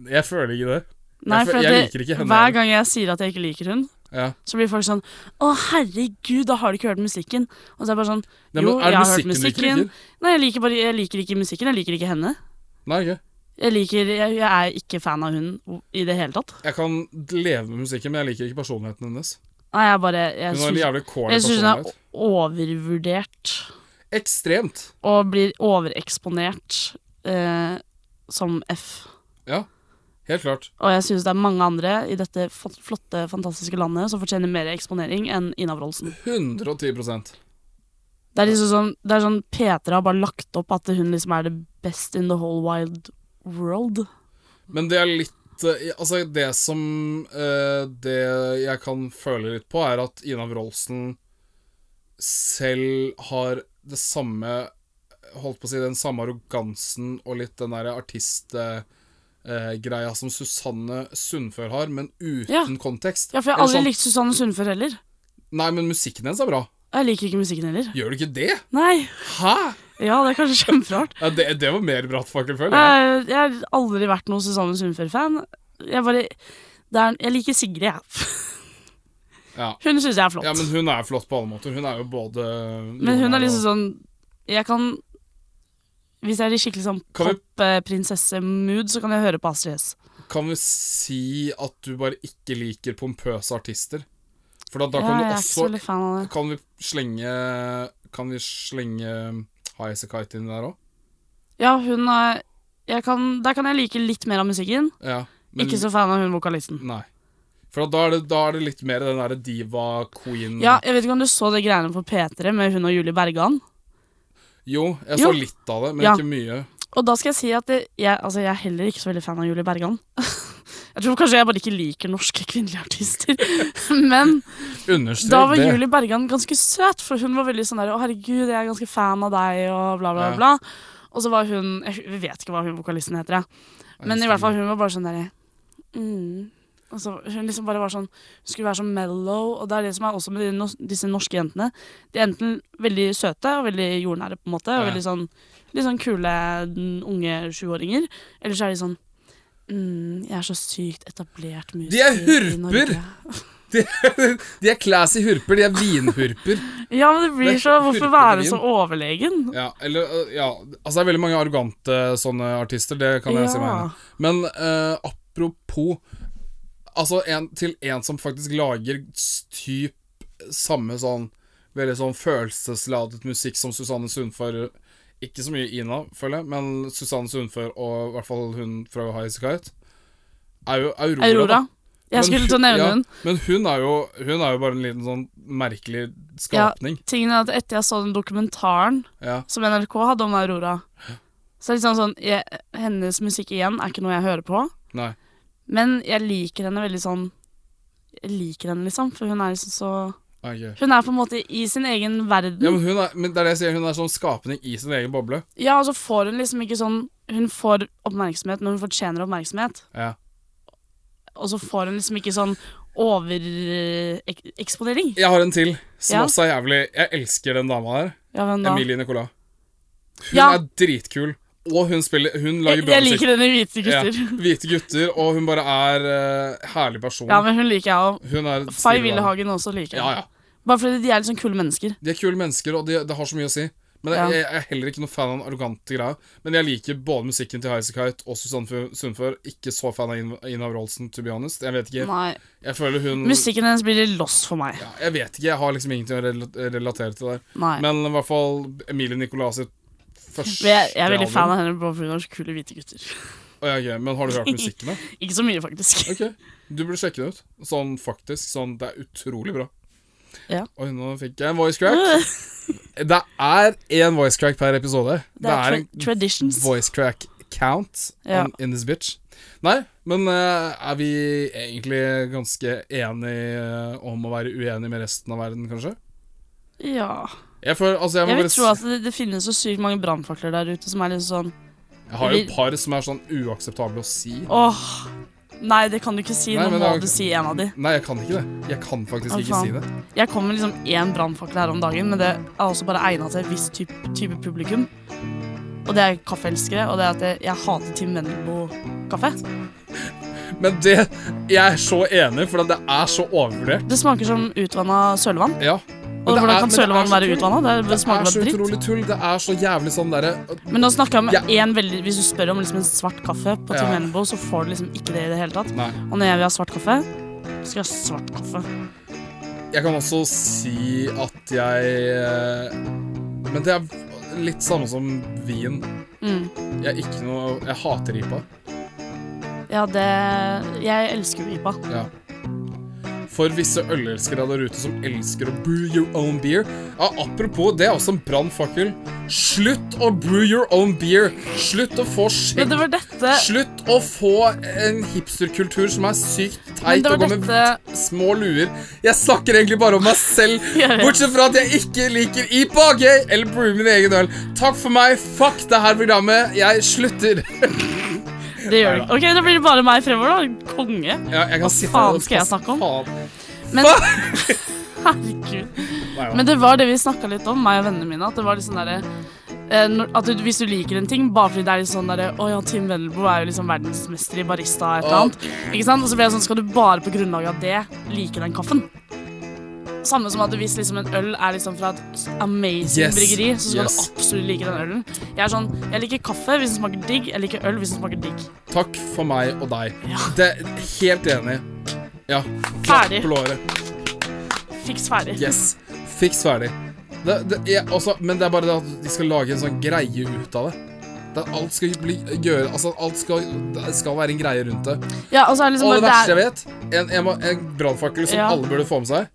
[SPEAKER 1] Jeg føler ikke det.
[SPEAKER 2] Nei,
[SPEAKER 1] Jeg fø-
[SPEAKER 2] for at
[SPEAKER 1] jeg
[SPEAKER 2] det-
[SPEAKER 1] liker ikke henne heller.
[SPEAKER 2] Hver gang jeg sier at jeg ikke liker hun,
[SPEAKER 1] Ja.
[SPEAKER 2] så blir folk sånn Å, herregud, da har du ikke hørt musikken. Og så er jeg bare sånn
[SPEAKER 1] Nei,
[SPEAKER 2] Jo,
[SPEAKER 1] men er det
[SPEAKER 2] jeg har hørt
[SPEAKER 1] musikken du ikke
[SPEAKER 2] musikken.
[SPEAKER 1] liker?
[SPEAKER 2] Nei, jeg liker, bare, jeg liker ikke musikken. Jeg liker ikke henne.
[SPEAKER 1] Nei, ikke.
[SPEAKER 2] Jeg, liker, jeg, jeg er ikke fan av hun i det hele tatt.
[SPEAKER 1] Jeg kan leve med musikken, men jeg liker ikke personligheten hennes.
[SPEAKER 2] Nei, jeg bare Jeg
[SPEAKER 1] Hun har en
[SPEAKER 2] syns-
[SPEAKER 1] jævlig corny
[SPEAKER 2] jeg syns hun
[SPEAKER 1] personlighet.
[SPEAKER 2] er overvurdert
[SPEAKER 1] Ekstremt.
[SPEAKER 2] og blir overeksponert eh, som F.
[SPEAKER 1] Ja. Helt klart.
[SPEAKER 2] Og jeg syns det er mange andre i dette fo- flotte, fantastiske landet som fortjener mer eksponering enn Ina Wroldsen.
[SPEAKER 1] 110
[SPEAKER 2] Det er liksom sånn, det er sånn Petra har bare lagt opp at hun liksom er the best in the whole wild world.
[SPEAKER 1] Men det er litt eh, Altså, det som eh, Det jeg kan føle litt på, er at Ina Wroldsen selv har det samme Holdt på å si den samme arrogansen og litt den derre artistgreia som Susanne Sundfør har, men uten
[SPEAKER 2] Ja.
[SPEAKER 1] kontekst.
[SPEAKER 2] Ja, for jeg har
[SPEAKER 1] Eller
[SPEAKER 2] aldri
[SPEAKER 1] sånn,
[SPEAKER 2] likt Susanne Sundfør heller.
[SPEAKER 1] Nei, men musikken hennes er bra.
[SPEAKER 2] Jeg liker ikke musikken heller.
[SPEAKER 1] Gjør du ikke det?
[SPEAKER 2] Nei.
[SPEAKER 1] Hæ?!
[SPEAKER 2] Ja, det er kanskje kjemperart.
[SPEAKER 1] Ja, det, det var mer brattfakkel, føler jeg.
[SPEAKER 2] Jeg, jeg har aldri vært noen Susanne Sundfør-fan. Jeg bare det er, Jeg liker Sigrid, jeg.
[SPEAKER 1] Ja.
[SPEAKER 2] Hun syns jeg er flott.
[SPEAKER 1] ja, men
[SPEAKER 2] men,
[SPEAKER 1] hun er flott på alle måter. Hun er jo både
[SPEAKER 2] hun er liksom sånn Jeg kan Hvis jeg er i skikkelig sånn
[SPEAKER 1] Kan vi-
[SPEAKER 2] pop-prinsesse-mood, så kan jeg høre på Astrid S.
[SPEAKER 1] Kan vi si at du bare ikke liker pompøse artister? For da, da
[SPEAKER 2] Ja,
[SPEAKER 1] kan
[SPEAKER 2] jeg
[SPEAKER 1] du
[SPEAKER 2] er ikke
[SPEAKER 1] også
[SPEAKER 2] så veldig fan av det.
[SPEAKER 1] Kan vi slenge Kan vi slenge Highasakite inn der òg?
[SPEAKER 2] Ja, hun er jeg kan, Der kan jeg like litt mer av musikken.
[SPEAKER 1] Ja.
[SPEAKER 2] Ikke så fan av hun vokalisten.
[SPEAKER 1] Nei. For da er det, da er det litt mer den derre diva-queen
[SPEAKER 2] Ja, jeg vet ikke om du så det greiene på P3 med hun og Julie Bergan.
[SPEAKER 1] Jo, jeg
[SPEAKER 2] Jo.
[SPEAKER 1] så litt av det, men
[SPEAKER 2] Ja.
[SPEAKER 1] ikke mye.
[SPEAKER 2] Og da skal jeg si at det, jeg, altså jeg er heller ikke så veldig fan av Julie Bergan. jeg tror kanskje jeg bare ikke liker norske kvinnelige artister. Men
[SPEAKER 1] Understrek
[SPEAKER 2] da var
[SPEAKER 1] det.
[SPEAKER 2] Julie Bergan ganske søt, for hun var veldig sånn der Å, herregud, jeg er ganske fan av deg, og bla, bla,
[SPEAKER 1] Ja.
[SPEAKER 2] bla. Og så var hun Jeg vet ikke hva hun vokalisten heter, jeg. Men i hvert fall, hun var bare sånn derre mm. Og så Hun liksom bare var sånn Hun skulle være sånn mellow, og det er det som er også med de nos- disse norske jentene. De er enten veldig søte og veldig jordnære, på en måte, og
[SPEAKER 1] Ja.
[SPEAKER 2] veldig sånn Litt sånn kule n- unge sjuåringer. Eller så er de sånn mm, Jeg er så sykt etablert musiker.
[SPEAKER 1] De er
[SPEAKER 2] i Norge.»
[SPEAKER 1] hurper! De er classy hurper. De er vinhurper.
[SPEAKER 2] Ja, men det
[SPEAKER 1] Det
[SPEAKER 2] blir
[SPEAKER 1] er
[SPEAKER 2] så Hvorfor
[SPEAKER 1] hurpevin.
[SPEAKER 2] være så overlegen?
[SPEAKER 1] Ja, eller øh, Ja, altså det er veldig mange arrogante sånne artister, det kan jeg si meg
[SPEAKER 2] Ja.
[SPEAKER 1] enig i. Men øh, apropos Altså en, til en som faktisk lager s- typ samme sånn Veldig sånn følelsesladet musikk som Susanne Sundfør Ikke så mye Ina, føler jeg, men Susanne Sundfør og i hvert fall hun fra High Kite er jo Aurora.
[SPEAKER 2] Aurora.
[SPEAKER 1] da. Men
[SPEAKER 2] Jeg skulle
[SPEAKER 1] hun-
[SPEAKER 2] til å nevne
[SPEAKER 1] ja,
[SPEAKER 2] hun.
[SPEAKER 1] Men hun er, jo, hun er jo bare en liten sånn merkelig skapning.
[SPEAKER 2] Tingen er at etter jeg så den dokumentaren
[SPEAKER 1] Ja.
[SPEAKER 2] som NRK hadde om Aurora. Så det er liksom sånn, jeg, Hennes musikk igjen er ikke noe jeg hører på,
[SPEAKER 1] Nei.
[SPEAKER 2] men jeg liker henne veldig sånn Jeg liker henne, liksom, for hun er liksom så
[SPEAKER 1] ok.
[SPEAKER 2] Hun er på en måte i sin egen verden.
[SPEAKER 1] Ja,
[SPEAKER 2] Ja,
[SPEAKER 1] men, hun er, men det er det jeg sier, hun er sånn skapning i sin egen boble.
[SPEAKER 2] og så får hun liksom ikke sånn Hun får oppmerksomhet når hun fortjener oppmerksomhet,
[SPEAKER 1] Ja.
[SPEAKER 2] og så får hun liksom ikke sånn eh, overeksponering.
[SPEAKER 1] Jeg har en til som
[SPEAKER 2] Ja.
[SPEAKER 1] også er jævlig Jeg elsker den dama der.
[SPEAKER 2] Ja, hvem da?
[SPEAKER 1] Emilie Nicolas. Hun
[SPEAKER 2] Ja.
[SPEAKER 1] er dritkul. Og hun, spiller, hun lager
[SPEAKER 2] Jeg,
[SPEAKER 1] bra
[SPEAKER 2] jeg
[SPEAKER 1] musikk.
[SPEAKER 2] liker denne hvite gutter.
[SPEAKER 1] Ja, hvite gutter, og hun bare er eh, herlig person.
[SPEAKER 2] Ja, men hun liker jeg òg.
[SPEAKER 1] hun er
[SPEAKER 2] Fay
[SPEAKER 1] stille.
[SPEAKER 2] Willehagen også liker jeg.
[SPEAKER 1] Ja, ja.
[SPEAKER 2] Bare fordi de er litt sånn kule mennesker.
[SPEAKER 1] De er kule mennesker, og de, det har så mye å si. Men
[SPEAKER 2] Ja.
[SPEAKER 1] jeg, jeg er heller ikke noen fan av den arrogante greia. Men jeg liker både musikken til Highasakite og Susanne Fu- Sundfør. Ikke så fan av Ina- Ina Wroldsen, to be honest. Jeg vet ikke.
[SPEAKER 2] Nei.
[SPEAKER 1] Jeg føler hun
[SPEAKER 2] Musikken hennes blir litt lost for meg.
[SPEAKER 1] ja, Jeg vet ikke, jeg har liksom ingenting å rela- relatere til der.
[SPEAKER 2] Nei.
[SPEAKER 1] Men i hvert fall Emilie Nicolas sitt første
[SPEAKER 2] Men jeg, jeg er veldig
[SPEAKER 1] album.
[SPEAKER 2] fan av henne bare fordi hun har så kule hvite gutter.
[SPEAKER 1] Å, ja, ok, Men har du hørt musikken, da?
[SPEAKER 2] Ikke så mye, faktisk.
[SPEAKER 1] Ok, du burde sjekke det ut. Sånn faktisk, sånn, det er utrolig bra.
[SPEAKER 2] Ja.
[SPEAKER 1] Oi, nå fikk jeg en voice crack. Det er én voice crack per episode.
[SPEAKER 2] Det er
[SPEAKER 1] en
[SPEAKER 2] tra traditions.
[SPEAKER 1] voice crack count
[SPEAKER 2] Ja.
[SPEAKER 1] on- in this bitch. Nei, men eh, er vi egentlig ganske enige eh, om å være uenige med resten av verden, kanskje?
[SPEAKER 2] Ja.
[SPEAKER 1] Jeg føler, altså jeg, må
[SPEAKER 2] Jeg vil
[SPEAKER 1] bare
[SPEAKER 2] tro
[SPEAKER 1] si-
[SPEAKER 2] at det, det finnes så sykt mange brannfakler der ute som er litt sånn
[SPEAKER 1] jeg har jo et par som er sånn uakseptable å si.
[SPEAKER 2] Åh, nei, det kan du ikke si.
[SPEAKER 1] Nei,
[SPEAKER 2] Nå
[SPEAKER 1] men
[SPEAKER 2] må
[SPEAKER 1] det er-
[SPEAKER 2] du si en av de.
[SPEAKER 1] Nei, jeg kan ikke det. Jeg kan faktisk
[SPEAKER 2] Å,
[SPEAKER 1] ikke
[SPEAKER 2] faen.
[SPEAKER 1] si det.
[SPEAKER 2] Jeg kom med liksom én brannfakkel her om dagen, men det er også bare egna til et visst type, type publikum. Og det er kaffeelskere, og det er at jeg, jeg hater Tim Vendelbo-kaffe.
[SPEAKER 1] Men det Jeg er så enig, for det er så overvurdert.
[SPEAKER 2] Det smaker som utvanna sølevann.
[SPEAKER 1] Ja.
[SPEAKER 2] Og
[SPEAKER 1] det er-
[SPEAKER 2] hvordan kan
[SPEAKER 1] men det er
[SPEAKER 2] sølevann
[SPEAKER 1] så
[SPEAKER 2] være
[SPEAKER 1] tull.
[SPEAKER 2] utvanna? Det,
[SPEAKER 1] Det
[SPEAKER 2] smaker
[SPEAKER 1] er så
[SPEAKER 2] bare dritt.
[SPEAKER 1] utrolig tull. Det er så jævlig sånn derre
[SPEAKER 2] Men nå snakker jeg om
[SPEAKER 1] Ja.
[SPEAKER 2] en veldig Hvis du spør om liksom en svart kaffe på Tim
[SPEAKER 1] Ja.
[SPEAKER 2] Vendelbo, så får du liksom ikke det i det hele tatt.
[SPEAKER 1] Nei.
[SPEAKER 2] Og når jeg vil ha svart kaffe, så skal jeg ha svart kaffe.
[SPEAKER 1] Jeg kan også si at jeg eh, Men det er litt samme som vin.
[SPEAKER 2] Mm.
[SPEAKER 1] Jeg er ikke noe Jeg hater IPA.
[SPEAKER 2] Ja, det Jeg elsker jo IPA.
[SPEAKER 1] Ja. For visse ølelskere der ute som elsker å brew your own beer Ja, Apropos, det er også en brannfakkel. Slutt å brew your own beer! Slutt å få
[SPEAKER 2] Men
[SPEAKER 1] skjegg!
[SPEAKER 2] det var dette
[SPEAKER 1] Slutt å få en hipsterkultur som er sykt
[SPEAKER 2] Men
[SPEAKER 1] teit
[SPEAKER 2] det
[SPEAKER 1] og
[SPEAKER 2] var
[SPEAKER 1] går med
[SPEAKER 2] dette
[SPEAKER 1] små luer. Jeg snakker egentlig bare om meg selv,
[SPEAKER 2] Jeg vet.
[SPEAKER 1] bortsett fra at jeg ikke liker IPA ok? eller brew min egen øl. Takk for meg. Fuck det her programmet. Jeg slutter.
[SPEAKER 2] Det gjør du ikke. Ok, Da blir det bare meg fremover, da. Konge.
[SPEAKER 1] Ja, jeg kan
[SPEAKER 2] Hva
[SPEAKER 1] sitte
[SPEAKER 2] faen
[SPEAKER 1] her og
[SPEAKER 2] skal jeg
[SPEAKER 1] passe-
[SPEAKER 2] snakke om?
[SPEAKER 1] Faen.
[SPEAKER 2] Men
[SPEAKER 1] Fuck!
[SPEAKER 2] herregud.
[SPEAKER 1] Nei, da.
[SPEAKER 2] Men det var det vi snakka litt om, meg og vennene mine. At det var litt sånn derre eh, når- at du, Hvis du liker en ting, bare fordi det er litt sånn derre Å ja, Tim Vendelbo er jo liksom verdensmester i barista et eller annet. Ikke sant? Og så blir jeg sånn Skal du bare på grunnlag av det like den kaffen? Samme som at hvis liksom en øl er liksom fra et s- amazing
[SPEAKER 1] Yes.
[SPEAKER 2] bryggeri, så skal
[SPEAKER 1] Yes.
[SPEAKER 2] du absolutt like den ølen. Jeg er sånn Jeg liker kaffe hvis den smaker digg. Jeg liker øl hvis den smaker digg.
[SPEAKER 1] Takk for meg og deg.
[SPEAKER 2] Ja.
[SPEAKER 1] Det er Helt enig. Ja. Klapp
[SPEAKER 2] Ferdig.
[SPEAKER 1] på låret.
[SPEAKER 2] Fiks ferdig.
[SPEAKER 1] Yes. Fiks ferdig. Det, det er også, men det er bare det at de skal lage en sånn greie ut av det. det er- alt skal bli, gjøre Altså, alt skal, det skal være en greie rundt det.
[SPEAKER 2] Ja, og så er det liksom
[SPEAKER 1] Og det
[SPEAKER 2] bare
[SPEAKER 1] verste
[SPEAKER 2] det er,
[SPEAKER 1] jeg vet, en, en, en brannfakkel som
[SPEAKER 2] Ja.
[SPEAKER 1] alle burde få med seg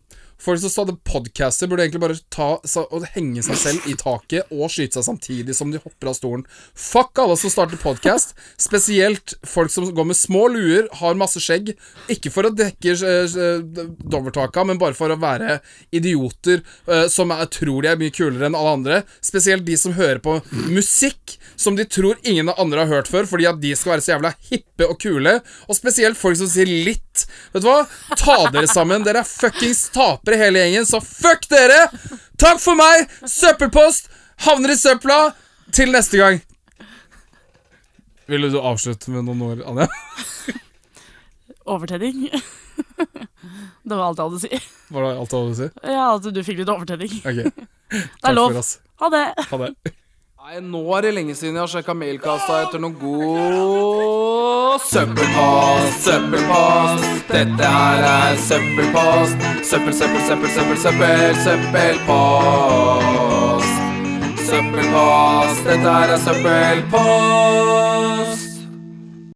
[SPEAKER 1] Folk som hadde podcaster, burde egentlig bare ta, sa, og henge seg selv i taket og skyte seg samtidig som de hopper av stolen. Fuck alle som starter podkast, spesielt folk som går med små luer, har masse skjegg. Ikke for å dekke uh, dovertaka, men bare for å være idioter eh, som er, tror de er mye kulere enn alle andre. Spesielt de som hører på musikk som de tror ingen av andre har hørt før, fordi at de skal være så jævla hippe og kule. Og spesielt folk som sier litt. Vet du hva? Ta dere sammen. Dere er fuckings tapere hele gjengen, så fuck dere! Takk for meg! Søppelpost havner i søpla. Til neste gang. Ville du avslutte med noen ord, Anja?
[SPEAKER 2] overtenning. det var alt jeg hadde å si.
[SPEAKER 1] Var det alt du hadde å si?
[SPEAKER 2] Ja, at du fikk litt overtenning.
[SPEAKER 1] Ok.
[SPEAKER 2] Det er
[SPEAKER 1] for
[SPEAKER 2] lov.
[SPEAKER 1] oss.
[SPEAKER 2] Ha det.
[SPEAKER 1] Ha det.
[SPEAKER 3] Nei, nå er det lenge siden jeg har sjekka mailkassa etter noe god søppelpost. Søppelpost. Dette her er søppelpost. Søppel, søppel, søppel, søppel, søppel, søppelpost. Søppelpost. Dette her er søppelpost.